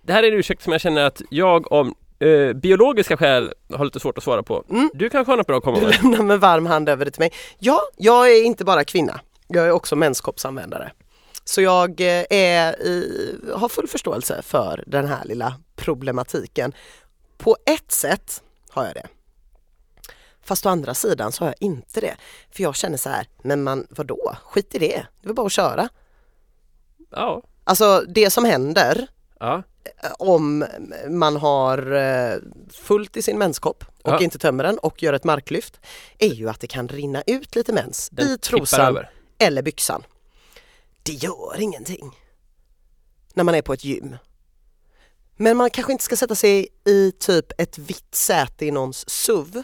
[SPEAKER 2] Det här är en ursäkt som jag känner att jag om eh, biologiska skäl har lite svårt att svara på.
[SPEAKER 1] Mm.
[SPEAKER 2] Du kanske har något bra att komma
[SPEAKER 1] Du
[SPEAKER 2] med?
[SPEAKER 1] lämnar med varm hand över det till mig. Ja, jag är inte bara kvinna. Jag är också menskoppsanvändare. Så jag eh, är i, har full förståelse för den här lilla problematiken. På ett sätt har jag det. Fast å andra sidan så har jag inte det. För jag känner så här, men man vadå? Skit i det. Det är väl bara att köra.
[SPEAKER 2] Ja.
[SPEAKER 1] Alltså det som händer
[SPEAKER 2] ja.
[SPEAKER 1] om man har eh, fullt i sin menskopp och
[SPEAKER 2] Ja.
[SPEAKER 1] inte tömmer den och gör ett marklyft är ju att det kan rinna ut lite mens
[SPEAKER 2] Den
[SPEAKER 1] i
[SPEAKER 2] tippar
[SPEAKER 1] trosan
[SPEAKER 2] över.
[SPEAKER 1] eller byxan. Det gör ingenting när man är på ett gym. Men man kanske inte ska sätta sig i typ ett vitt säte i någons SUV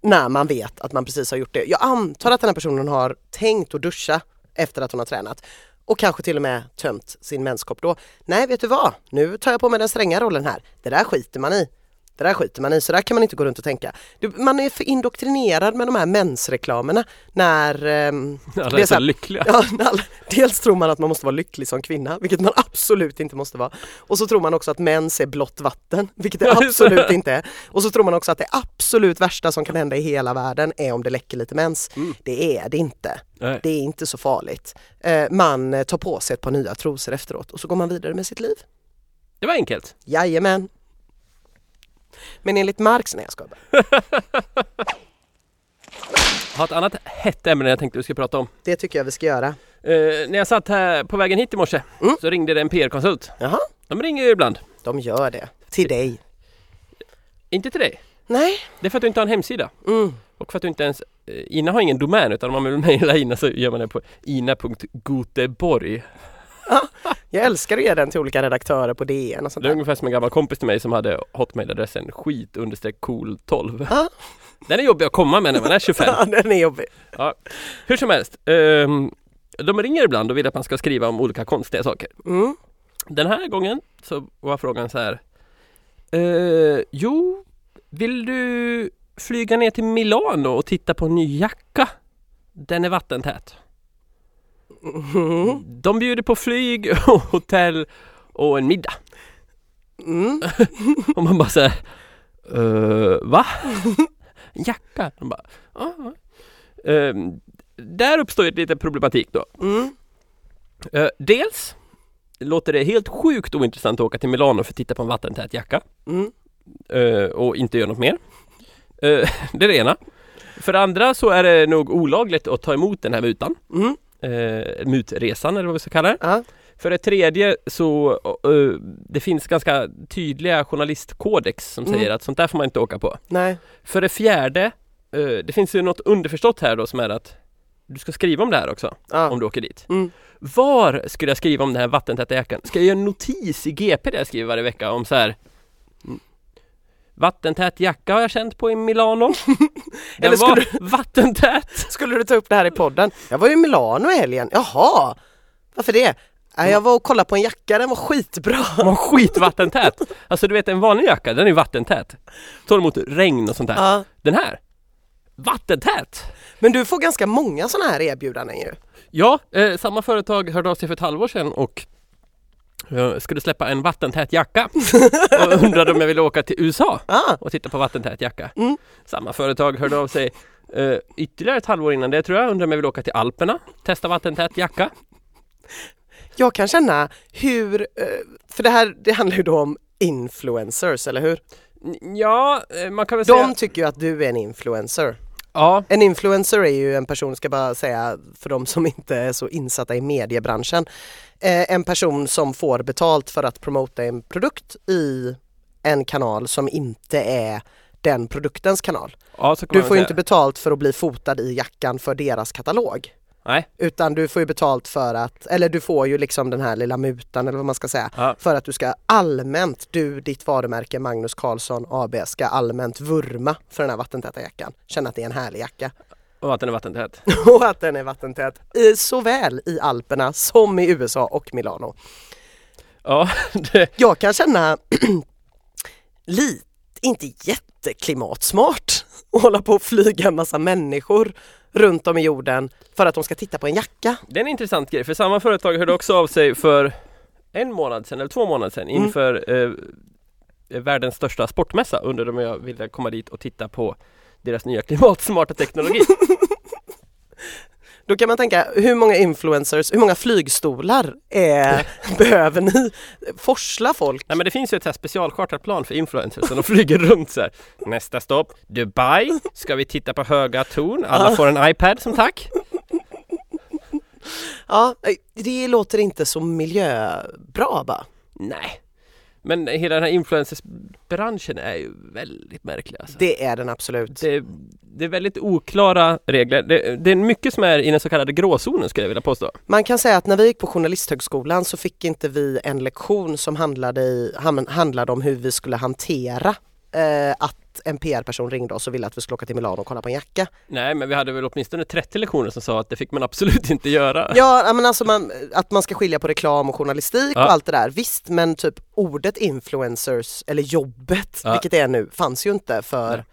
[SPEAKER 1] när man vet att man precis har gjort det. Jag antar att den här personen har tänkt att duscha efter att hon har tränat och kanske till och med tömt sin menskopp då. Nej, vet du vad? Nu tar jag på mig den stränga rollen här. Det där skiter man i. Det där skiter man i, så där kan man inte gå runt och tänka. Du, man är för indoktrinerad med de här mensreklamerna när... ehm,
[SPEAKER 2] Alla
[SPEAKER 1] det är
[SPEAKER 2] är
[SPEAKER 1] så
[SPEAKER 2] så
[SPEAKER 1] här-
[SPEAKER 2] lyckliga.
[SPEAKER 1] Ja, nall- dels tror man att man måste vara lycklig som kvinna, vilket man absolut inte måste vara. Och så tror man också att mens är blått vatten, vilket det
[SPEAKER 2] Ja, just det.
[SPEAKER 1] absolut inte är. Och så tror man också att det absolut värsta som kan hända i hela världen är om det läcker lite mens.
[SPEAKER 2] Mm.
[SPEAKER 1] Det är det inte.
[SPEAKER 2] Nej.
[SPEAKER 1] Det är inte så farligt. Eh, Man eh, tar på sig ett par nya trosor efteråt och så går man vidare med sitt liv.
[SPEAKER 2] Det var enkelt.
[SPEAKER 1] Jajamän. Men enligt Marx, nej jag skojar bara.
[SPEAKER 2] Jag har ett annat hett ämne jag tänkte vi skulle prata om.
[SPEAKER 1] Det tycker jag vi ska göra.
[SPEAKER 2] Eh, när jag satt här på vägen hit i morse
[SPEAKER 1] Mm.
[SPEAKER 2] så ringde det en PR-konsult.
[SPEAKER 1] Jaha,
[SPEAKER 2] De ringer ju ibland.
[SPEAKER 1] de gör det. Till dig.
[SPEAKER 2] Inte till dig.
[SPEAKER 1] Nej.
[SPEAKER 2] Det är för att du inte har en hemsida.
[SPEAKER 1] Mm.
[SPEAKER 2] Och för att du inte ens... eh, Ina har ingen domän utan om man vill mejla Ina så gör man det på ina.goteborg.
[SPEAKER 1] Jag älskar att ge den till olika redaktörer på DN och sånt
[SPEAKER 2] Det är
[SPEAKER 1] där.
[SPEAKER 2] ungefär som en gammal kompis till mig som hade hotmailadressen skit cool 12.
[SPEAKER 1] Ja.
[SPEAKER 2] Den är jobbig att komma med när man är 25.
[SPEAKER 1] Ja, den är jobbig.
[SPEAKER 2] Hur som helst. ehm, de ringer ibland och vill att man ska skriva om olika konstiga saker.
[SPEAKER 1] Mm.
[SPEAKER 2] Den här gången så var frågan så här. Eh, jo, vill du flyga ner till Milano och titta på en ny jacka? Den är vattentät.
[SPEAKER 1] Mhm.
[SPEAKER 2] De bjuder på flyg och hotell och en middag.
[SPEAKER 1] Mm.
[SPEAKER 2] Och man bara såhär, uh, va? En jacka? De bara, ja. ja." Ehm, där uppstår ju lite problematik då.
[SPEAKER 1] Mm.
[SPEAKER 2] Eh, dels låter det helt sjukt ointressant att åka till Milano för att titta på en vattentät jacka.
[SPEAKER 1] Mm.
[SPEAKER 2] eh, och inte gör något mer. Eh, det är det ena. För det andra så är det nog olagligt att ta emot den här mutan.
[SPEAKER 1] Mm.
[SPEAKER 2] Eh, mutresan eller vad vi ska kalla det.
[SPEAKER 1] Ja.
[SPEAKER 2] För det tredje så eh, det finns ganska tydliga journalistkodex som
[SPEAKER 1] Mm.
[SPEAKER 2] säger att sånt där får man inte åka på.
[SPEAKER 1] Nej.
[SPEAKER 2] För det fjärde, eh, det finns ju något underförstått här då som är att du ska skriva om det här också om
[SPEAKER 1] Ja.
[SPEAKER 2] du åker dit.
[SPEAKER 1] Mm.
[SPEAKER 2] Var skulle jag skriva om den här vattentäta jackan? Ska jag göra en notis i GP där jag skriver varje vecka om så här mm, Vattentät jacka har jag känt på i Milano. Den
[SPEAKER 1] Eller skulle
[SPEAKER 2] var vattentät.
[SPEAKER 1] Skulle du ta upp det här i podden? Jag var ju i Milano i helgen. Jaha, varför det? Nej, jag var och kollade på en jacka, den var skitbra.
[SPEAKER 2] Den var skitvattentät. Alltså du vet en vanlig jacka, den är vattentät. Tål emot regn och sånt där.
[SPEAKER 1] Ja.
[SPEAKER 2] Den här, vattentät.
[SPEAKER 1] Men du får ganska många sådana här erbjudanden ju.
[SPEAKER 2] Ja, eh, samma företag hörde av sig för ett halvår sedan och eh, skulle släppa en vattentät jacka och undrade om jag ville åka till USA
[SPEAKER 1] Ja,
[SPEAKER 2] och titta på vattentät jacka.
[SPEAKER 1] Mm.
[SPEAKER 2] Samma företag hörde av sig eh, ytterligare ett halvår innan det tror jag, undrade om jag ville åka till Alperna, testa vattentät jacka.
[SPEAKER 1] jag kan känna hur, eh, för det här det handlar ju då om influencers, eller hur?
[SPEAKER 2] N- Ja, eh, man kan väl säga...
[SPEAKER 1] De tycker ju att du är en influencer.
[SPEAKER 2] Ja,
[SPEAKER 1] En influencer är ju en person, ska bara säga för de som inte är så insatta i mediebranschen, eh, en person som får betalt för att promota en produkt i en kanal som inte är den produktens kanal.
[SPEAKER 2] ja, så kan
[SPEAKER 1] Du
[SPEAKER 2] man väl
[SPEAKER 1] får ju
[SPEAKER 2] säga.
[SPEAKER 1] inte betalt för att bli fotad i jackan för deras katalog.
[SPEAKER 2] Nej.
[SPEAKER 1] Utan du får ju betalt för att, eller du får ju liksom den här lilla mutan eller vad man ska säga.
[SPEAKER 2] Ja.
[SPEAKER 1] För att du ska allmänt, du, ditt varumärke Magnus Karlsson AB ska allmänt vurma för den här vattentäta jackan. Känna att det är en härlig jacka.
[SPEAKER 2] Och att den är vattentät.
[SPEAKER 1] Och att den är vattentät. I, såväl i Alperna som i USA och Milano.
[SPEAKER 2] Ja, det,
[SPEAKER 1] Jag kan känna lite, inte jätteklimatsmart att hålla på och flyga en massa människor runt om i jorden för att de ska titta på en jacka.
[SPEAKER 2] det är en intressant grej, för samma företag hörde också av sig för en månad sedan, eller två månader sedan,
[SPEAKER 1] Mm.
[SPEAKER 2] inför eh, världens största sportmässa, undrade om jag ville komma dit och titta på deras nya klimatsmarta teknologi.
[SPEAKER 1] Då kan man tänka, hur många influencers, hur många flygstolar eh, behöver ni? Forsla folk?
[SPEAKER 2] Nej men det finns ju ett så här specialchartrat plan för influencers som de flyger runt så här. Nästa stopp, Dubai. Ska vi titta på höga torn? Alla får en iPad som tack.
[SPEAKER 1] Ja, det låter inte så miljöbra bara.
[SPEAKER 2] Nej. Men hela den här influencersbranschen är ju väldigt märklig alltså.
[SPEAKER 1] Det är den absolut.
[SPEAKER 2] Det, det är väldigt oklara regler. Det, det är mycket som är i den så kallade gråzonen skulle jag vilja påstå.
[SPEAKER 1] Man kan säga att när vi gick på journalisthögskolan så fick inte vi en lektion som handlade, i, ham- handlade om hur vi skulle hantera eh, att en PR-person ringde oss och ville att vi skulle åka till Milano och kolla på en jacka.
[SPEAKER 2] Nej men vi hade väl åtminstone 30 lektioner som sa att det fick man absolut inte göra.
[SPEAKER 1] Ja, ja, men alltså man, att man ska skilja på reklam och journalistik
[SPEAKER 2] Ja.
[SPEAKER 1] och allt det där. Visst, men typ ordet influencers eller jobbet,
[SPEAKER 2] Ja.
[SPEAKER 1] vilket det är nu, fanns ju inte för
[SPEAKER 2] Ah. Nej.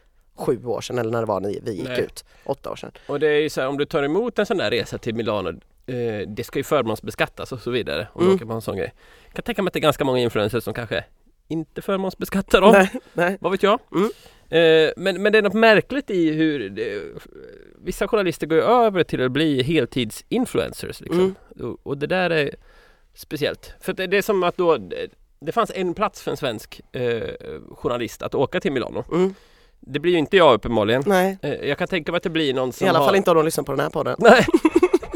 [SPEAKER 1] sju år sedan eller när det var ni, vi gick
[SPEAKER 2] Nej.
[SPEAKER 1] ut, åtta år sedan.
[SPEAKER 2] Och det är ju så här, om du tar emot en sån där resa till Milano eh, Det ska ju förmånsbeskattas och så vidare om
[SPEAKER 1] Mm.
[SPEAKER 2] du åker på en sån grej Jag kan tänka mig att det är ganska många influencers som kanske inte förmånsbeskattar dem
[SPEAKER 1] Nej, nej.
[SPEAKER 2] Vad vet jag?
[SPEAKER 1] Mm.
[SPEAKER 2] Eh, men, men det är något märkligt i hur det, Vissa journalister går ju över till att bli heltidsinfluencers
[SPEAKER 1] Mm.
[SPEAKER 2] liksom. och, och det där är speciellt För att det, det är som att då Det fanns en plats för en svensk eh, journalist att åka till Milano
[SPEAKER 1] Mm.
[SPEAKER 2] Det blir ju inte jag uppenbarligen.
[SPEAKER 1] Nej,
[SPEAKER 2] Eh, Jag kan tänka mig att det blir någon som
[SPEAKER 1] Mm. i alla
[SPEAKER 2] har...
[SPEAKER 1] fall inte om de lyssnar på den här podden.
[SPEAKER 2] Nej.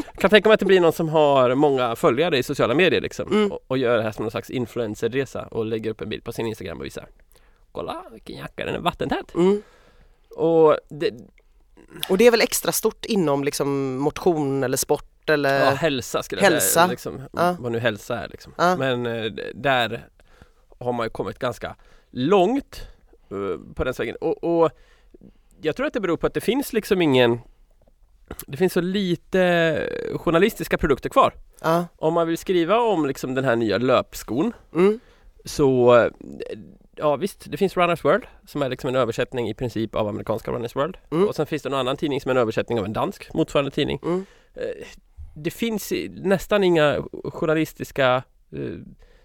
[SPEAKER 2] Jag kan tänka mig att det blir någon som har många följare i sociala medier liksom
[SPEAKER 1] Mm.
[SPEAKER 2] och, och gör det här som någon slags influencerresa och lägger upp en bild på sin Instagram och visar Kolla vilken jacka, den är vattentät!
[SPEAKER 1] Mm.
[SPEAKER 2] Och det,
[SPEAKER 1] Och det är väl extra stort inom liksom motion eller sport eller
[SPEAKER 2] ja, hälsa skulle jag
[SPEAKER 1] Eh, hälsa.
[SPEAKER 2] säga, liksom,
[SPEAKER 1] Ja.
[SPEAKER 2] vad nu hälsa är liksom.
[SPEAKER 1] Ja.
[SPEAKER 2] Men eh, d- där har man ju kommit ganska långt eh, på den vägen och, och jag tror att det beror på att det finns liksom ingen Det finns så lite journalistiska produkter kvar
[SPEAKER 1] ja.
[SPEAKER 2] Om man vill skriva om liksom den här nya löpskon
[SPEAKER 1] Mm.
[SPEAKER 2] så eh, Ja visst, det finns Runners World som är liksom en översättning i princip av amerikanska Runners World
[SPEAKER 1] Mm.
[SPEAKER 2] och sen finns det en annan tidning som är en översättning av en dansk motsvarande tidning.
[SPEAKER 1] Mm.
[SPEAKER 2] Eh, Det finns i- nästan inga journalistiska eh,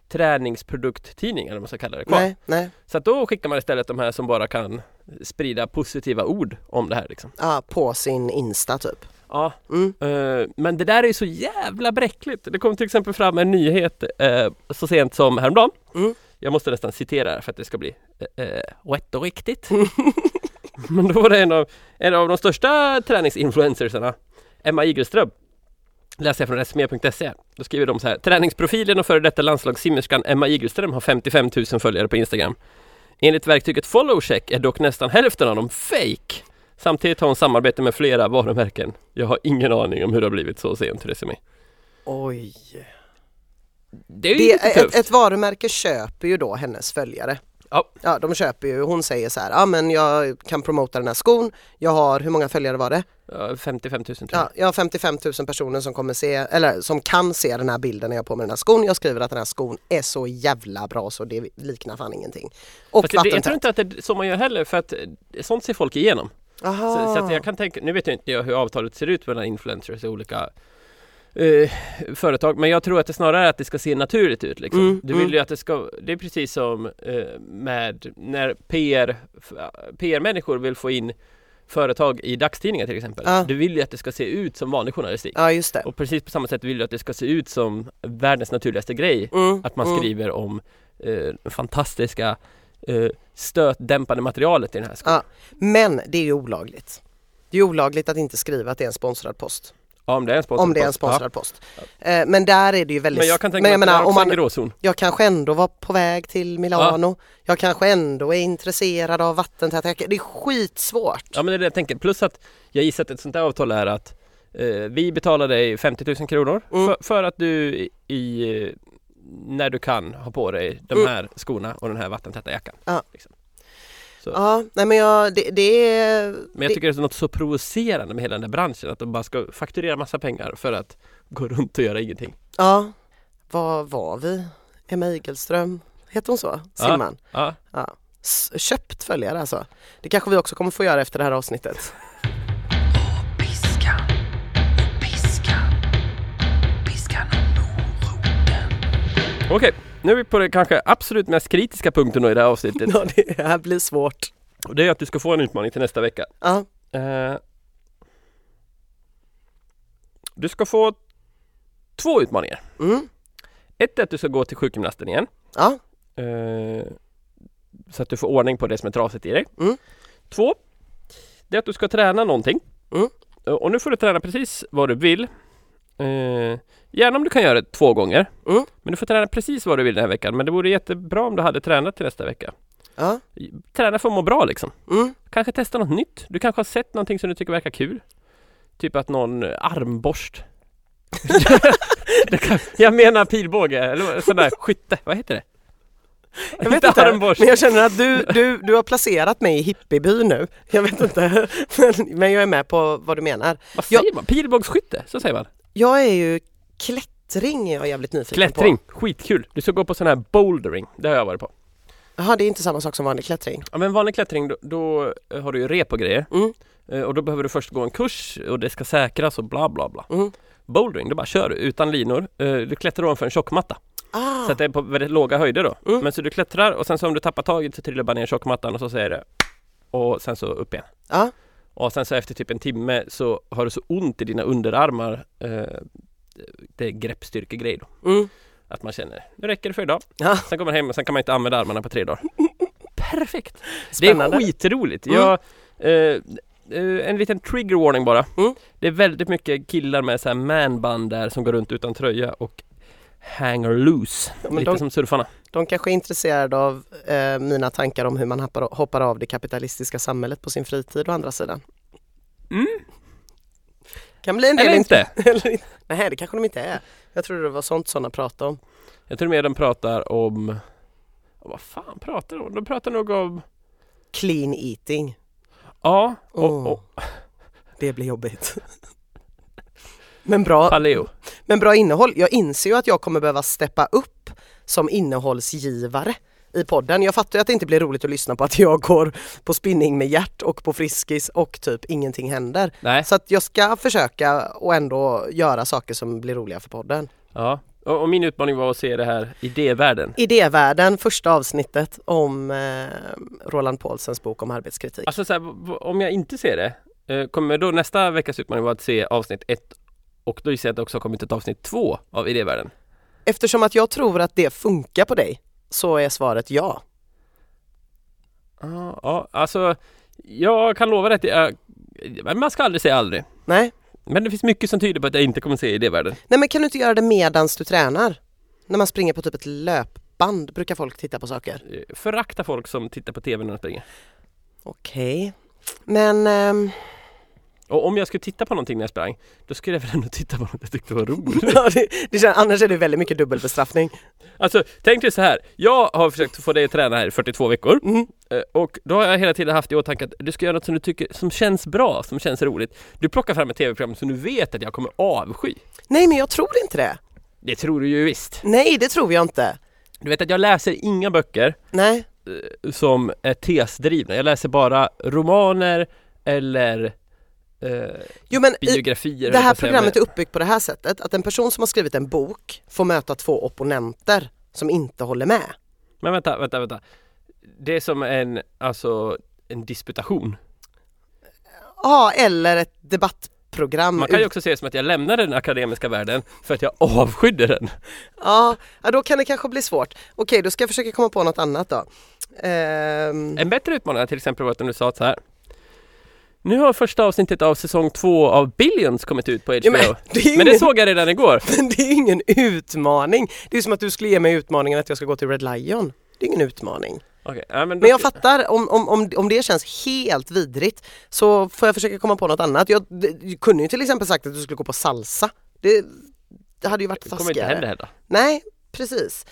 [SPEAKER 2] träningsprodukttidningar eller vad man ska kalla det kvar.
[SPEAKER 1] Nej, nej.
[SPEAKER 2] Så att då skickar man istället de här som bara kan sprida positiva ord om det här liksom.
[SPEAKER 1] Ja, på sin Insta typ.
[SPEAKER 2] Ja,
[SPEAKER 1] Mm.
[SPEAKER 2] Eh, Men det där är ju så jävla bräckligt. Det kom till exempel fram en nyhet eh, så sent som häromdagen.
[SPEAKER 1] Mm.
[SPEAKER 2] Jag måste nästan citera här för att det ska bli eh, eh, rätt och riktigt. Men då var det en av, en av de största träningsinfluencersarna, Emma Igelström. Läser jag från E sme.se. Då skriver de så här. Träningsprofilen och före detta landslagssimmerskan Emma Igelström har 55 000 följare på Instagram. Enligt verktyget Followcheck är dock nästan hälften av dem fake. Samtidigt har hon samarbete med flera varumärken. Jag har ingen aning om hur det har blivit så sent hur det ser mig.
[SPEAKER 1] Oj.
[SPEAKER 2] Det är ju
[SPEAKER 1] Det,
[SPEAKER 2] lite tufft.
[SPEAKER 1] ett, ett varumärke köper ju då hennes följare.
[SPEAKER 2] Ja.
[SPEAKER 1] Ja, de köper ju, hon säger så här, ja men jag kan promota den här skon, jag har, hur många följare var det?
[SPEAKER 2] Ja, 55 000 tror jag.
[SPEAKER 1] Ja, jag har 55 000 personer som kommer se, eller som kan se den här bilden när jag har på mig den här skon. Jag skriver att den här skon är så jävla bra så det liknar fan ingenting. Och
[SPEAKER 2] Fast det, jag
[SPEAKER 1] vattentät.
[SPEAKER 2] tror inte att det är så man gör heller för att eh, sånt ser folk igenom. Så,
[SPEAKER 1] Aha.
[SPEAKER 2] så att jag kan tänka, nu vet jag inte jag hur avtalet ser ut mellan influencers och olika eh, företag men jag tror att det snarare är att det ska se naturligt ut liksom.
[SPEAKER 1] Mm,
[SPEAKER 2] Du vill
[SPEAKER 1] mm.
[SPEAKER 2] ju att det ska, det är precis som eh, med när PR, f- PR-människor vill få in företag i dagstidningar till exempel.
[SPEAKER 1] Ja.
[SPEAKER 2] Du vill ju att det ska se ut som vanlig journalistik.
[SPEAKER 1] Ja just det.
[SPEAKER 2] Och precis på samma sätt vill du att det ska se ut som världens naturligaste grej
[SPEAKER 1] Mm,
[SPEAKER 2] Att man
[SPEAKER 1] mm.
[SPEAKER 2] skriver om eh, fantastiska eh, stötdämpande materialet i den här skolan
[SPEAKER 1] Ja. Men det är ju olagligt. Det är olagligt att inte skriva att det är en sponsrad post.
[SPEAKER 2] Ja, om det är en sponsrad
[SPEAKER 1] Om det är en
[SPEAKER 2] post.
[SPEAKER 1] sponsrad post. Eh, Men där är det ju
[SPEAKER 2] Ja.
[SPEAKER 1] väldigt...
[SPEAKER 2] Men jag kan tänka mig att
[SPEAKER 1] jag
[SPEAKER 2] det är
[SPEAKER 1] menar,
[SPEAKER 2] också
[SPEAKER 1] om man,
[SPEAKER 2] en gråzon
[SPEAKER 1] jag kanske ändå var på väg till Milano. Jag kanske ändå är intresserad av vattentäta jackor. Det är skitsvårt.
[SPEAKER 2] Ja men det är det jag tänker, plus att jag gissar att ett sånt där avtal är att eh, vi betalar dig 50 000 kronor
[SPEAKER 1] Mm.
[SPEAKER 2] för, för att du i, i, eh, när du kan ha på dig de
[SPEAKER 1] Mm.
[SPEAKER 2] här skorna och den här vattentäta jackan
[SPEAKER 1] Ja.
[SPEAKER 2] liksom.
[SPEAKER 1] Ja, nej men jag, det, det är...
[SPEAKER 2] Men jag tycker det är något så provocerande med hela den där branschen att de bara ska fakturera massa pengar för att gå runt och göra ingenting
[SPEAKER 1] Ja, vad var vi? Emma Igelström, heter hon så? Simman?
[SPEAKER 2] Ja,
[SPEAKER 1] Ja. S- Köpt följare alltså. Det kanske vi också kommer få göra efter det här avsnittet.
[SPEAKER 4] Piskan, piskan, piskan och moroten.
[SPEAKER 2] Okej, nu är vi på den kanske absolut mest kritiska punkten då i det här avsnittet.
[SPEAKER 1] Ja, det här blir svårt.
[SPEAKER 2] Och det är att du ska få en utmaning till nästa vecka.
[SPEAKER 1] Ja,
[SPEAKER 2] Eh, du ska få två utmaningar.
[SPEAKER 1] mm.
[SPEAKER 2] Ett är att du ska gå till sjukgymnasten igen.
[SPEAKER 1] ja.
[SPEAKER 2] eh, så att du får ordning på det som är trasigt i dig.
[SPEAKER 1] Mm.
[SPEAKER 2] Två, det är att du ska träna någonting.
[SPEAKER 1] Mm.
[SPEAKER 2] Eh, Och nu får du träna precis vad du vill. Eh, gärna om du kan göra det två gånger.
[SPEAKER 1] Mm.
[SPEAKER 2] Men du får träna precis vad du vill den här veckan. Men det vore jättebra om du hade tränat till nästa vecka.
[SPEAKER 1] ja.
[SPEAKER 2] Träna för att må bra liksom.
[SPEAKER 1] Mm.
[SPEAKER 2] Kanske testa något nytt. Du kanske har sett någonting som du tycker verkar kul. Typ att någon eh, armborst. Det kan- jag menar pilbåge, eller vad- sån där skytte, vad heter det?
[SPEAKER 1] Jag vet
[SPEAKER 2] inte
[SPEAKER 1] inte,
[SPEAKER 2] armborst.
[SPEAKER 1] men jag känner att du, du, du har placerat mig i hippieby nu. Jag vet inte, men, men jag är med på vad du menar.
[SPEAKER 2] Vad
[SPEAKER 1] Ja.
[SPEAKER 2] säger man? Pilbågsskytte, så säger man.
[SPEAKER 1] Jag är ju klättring är jag jävligt nyfiken
[SPEAKER 2] Klättring,
[SPEAKER 1] på.
[SPEAKER 2] skitkul. Du ska gå på sån här bouldering, det har jag varit på.
[SPEAKER 1] Jaha, det är inte samma sak som vanlig klättring.
[SPEAKER 2] Ja men vanlig klättring, då, då eh, har du ju rep och grejer.
[SPEAKER 1] Mm.
[SPEAKER 2] Eh, Och då behöver du först gå en kurs och det ska säkras och bla bla bla.
[SPEAKER 1] Mm.
[SPEAKER 2] Bouldering, då bara kör du utan linor. Eh, Du klättrar ovanför en tjockmatta.
[SPEAKER 1] Ah,
[SPEAKER 2] Så att det är på väldigt låga höjder då.
[SPEAKER 1] Mm.
[SPEAKER 2] Men så du klättrar och sen så om du tappar taget så trillar du bara ner i tjockmattan och så säger det och sen så upp igen.
[SPEAKER 1] ja.
[SPEAKER 2] Och sen så efter typ en timme så har du så ont i dina underarmar. Eh, det är greppstyrkegrej då.
[SPEAKER 1] Mm.
[SPEAKER 2] Att man känner, nu räcker det för idag.
[SPEAKER 1] Ja.
[SPEAKER 2] Sen kommer man hem och sen kan man inte använda armarna på tre dagar. perfekt!
[SPEAKER 1] Spännande.
[SPEAKER 2] Det är skitroligt.
[SPEAKER 1] Mm.
[SPEAKER 2] Jag, eh, eh, en liten trigger warning bara.
[SPEAKER 1] Mm.
[SPEAKER 2] Det är väldigt mycket killar med så här manband där som går runt utan tröja och hanger loose.
[SPEAKER 1] men
[SPEAKER 2] Lite
[SPEAKER 1] de-
[SPEAKER 2] som surfarna.
[SPEAKER 1] De kanske är intresserade av eh, mina tankar om hur man hoppar, hoppar av det kapitalistiska samhället på sin fritid å andra sidan.
[SPEAKER 2] Mm.
[SPEAKER 1] Kan bli en del
[SPEAKER 2] Eller inte!
[SPEAKER 1] int- Eller inte. Nej det kanske de inte är. Jag trodde det var sånt sådana pratade om.
[SPEAKER 2] Jag tror mer de pratar om... Vad fan pratar de om? De pratar nog om...
[SPEAKER 1] Clean eating.
[SPEAKER 2] Ja, och,
[SPEAKER 1] Åh.
[SPEAKER 2] och
[SPEAKER 1] Det blir jobbigt. Men bra,
[SPEAKER 2] paleo.
[SPEAKER 1] men bra innehåll. Jag inser ju att jag kommer behöva steppa upp som innehållsgivare i podden. Jag fattar ju att det inte blir roligt att lyssna på att jag går på spinning med hjärt och på Friskis och typ ingenting händer.
[SPEAKER 2] Nej.
[SPEAKER 1] Så att jag ska försöka och ändå göra saker som blir roliga för podden.
[SPEAKER 2] Ja. Och, och min utmaning var att se det här idévärlden.
[SPEAKER 1] Idévärlden, första avsnittet om eh, Roland Paulsens bok om arbetskritik.
[SPEAKER 2] Alltså så här, v- v- om jag inte ser det, eh, kommer då nästa veckas utmaning vara att se avsnitt ett och då gissar jag att det också har kommit ett avsnitt två av Idévärlden.
[SPEAKER 1] Eftersom att jag tror att det funkar på dig så är svaret ja.
[SPEAKER 2] Ja, ja, alltså jag kan lova dig att jag, men man ska aldrig säga aldrig.
[SPEAKER 1] Nej,
[SPEAKER 2] Men det finns mycket som tyder på att jag inte kommer se Idévärlden.
[SPEAKER 1] Nej men kan du inte göra det medans du tränar? När man springer på typ ett löpband brukar folk titta på saker.
[SPEAKER 2] Eh, Förakta folk som tittar på TV när de springer.
[SPEAKER 1] Okej. Men ehm,
[SPEAKER 2] Och om jag skulle titta på någonting när jag sprang, då skulle jag väl ändå titta på något jag tyckte var roligt.
[SPEAKER 1] ja, det, det känns, annars är det väldigt mycket dubbelbestraffning.
[SPEAKER 2] Alltså, tänk dig så här. Jag har försökt få dig att träna här i 42 veckor.
[SPEAKER 1] Mm.
[SPEAKER 2] Eh, Och då har jag hela tiden haft i åtanke att du ska göra något som du tycker som känns bra, som känns roligt. Du plockar fram ett tv-program som du vet att jag kommer avsky.
[SPEAKER 1] Nej men jag tror inte det.
[SPEAKER 2] Det tror du ju visst.
[SPEAKER 1] Nej det tror jag inte.
[SPEAKER 2] Du vet att jag läser inga böcker
[SPEAKER 1] Nej.
[SPEAKER 2] som är tesdrivna. Jag läser bara romaner eller eh,
[SPEAKER 1] Jo men i,
[SPEAKER 2] biografier.
[SPEAKER 1] Det här
[SPEAKER 2] höll jag på att säga,
[SPEAKER 1] programmet är
[SPEAKER 2] men-
[SPEAKER 1] uppbyggt på det här sättet att en person som har skrivit en bok får möta två opponenter som inte håller med.
[SPEAKER 2] Men vänta, vänta, vänta. Det är som en, alltså, en disputation.
[SPEAKER 1] Ja, eller ett debattprogram.
[SPEAKER 2] Man kan ju också se det som att jag lämnar den akademiska världen för att jag avskydde den.
[SPEAKER 1] ja, ja, då kan det kanske bli svårt. Okej, då ska jag försöka komma på något annat då. Ehm,
[SPEAKER 2] En bättre utmaning har till exempel varit om du sa så här. Nu har första avsnittet av säsong två av Billions kommit ut på HBO.
[SPEAKER 1] ja,
[SPEAKER 2] men,
[SPEAKER 1] det är ju
[SPEAKER 2] det
[SPEAKER 1] ingen,
[SPEAKER 2] såg jag redan igår.
[SPEAKER 1] det är ju ingen utmaning. Det är som att du skulle ge mig utmaningen att jag ska gå till Red Lion. Det är ingen utmaning.
[SPEAKER 2] Okej, ja, men då,
[SPEAKER 1] Men jag fattar, om, om, om, om det känns helt vidrigt så får jag försöka komma på något annat. Jag, d- jag kunde ju till exempel sagt att du skulle gå på salsa. Det, det hade ju varit
[SPEAKER 2] det kommer inte hända
[SPEAKER 1] taskigare.
[SPEAKER 2] Hedda.
[SPEAKER 1] Nej, precis.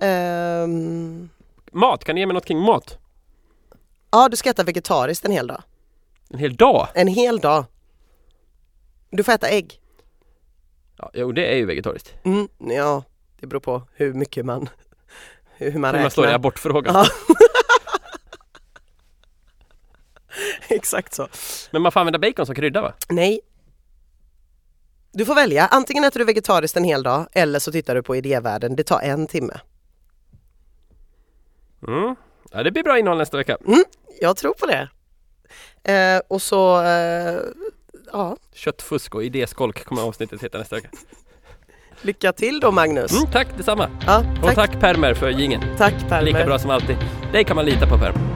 [SPEAKER 1] Ehm,
[SPEAKER 2] Mat, kan du ge mig något kring mat?
[SPEAKER 1] ja, du ska äta vegetariskt en hel dag.
[SPEAKER 2] En hel dag?
[SPEAKER 1] En hel dag. Du får äta ägg.
[SPEAKER 2] Ja, jo, det är ju vegetariskt.
[SPEAKER 1] Mm, ja, det beror på hur mycket man, hur man
[SPEAKER 2] Hur man står i
[SPEAKER 1] räknar.
[SPEAKER 2] abortfrågan.
[SPEAKER 1] Ja. Exakt så.
[SPEAKER 2] Men man får använda bacon som krydda va?
[SPEAKER 1] Nej. Du får välja, antingen äter du vegetariskt en hel dag eller så tittar du på idévärlden, det tar en timme.
[SPEAKER 2] Mm. Ja, det blir bra innehåll nästa vecka.
[SPEAKER 1] Jag tror på det. Eh, och så, eh, ja,
[SPEAKER 2] Köttfusk och idéskolk kommer avsnittet heta nästa vecka.
[SPEAKER 1] lycka till då Magnus.
[SPEAKER 2] Mm, tack detsamma!
[SPEAKER 1] Ja,
[SPEAKER 2] Och
[SPEAKER 1] tack,
[SPEAKER 2] tack Permer för gingen.
[SPEAKER 1] tack Palme.
[SPEAKER 2] Lika bra som alltid. Dig kan man lita på Permer.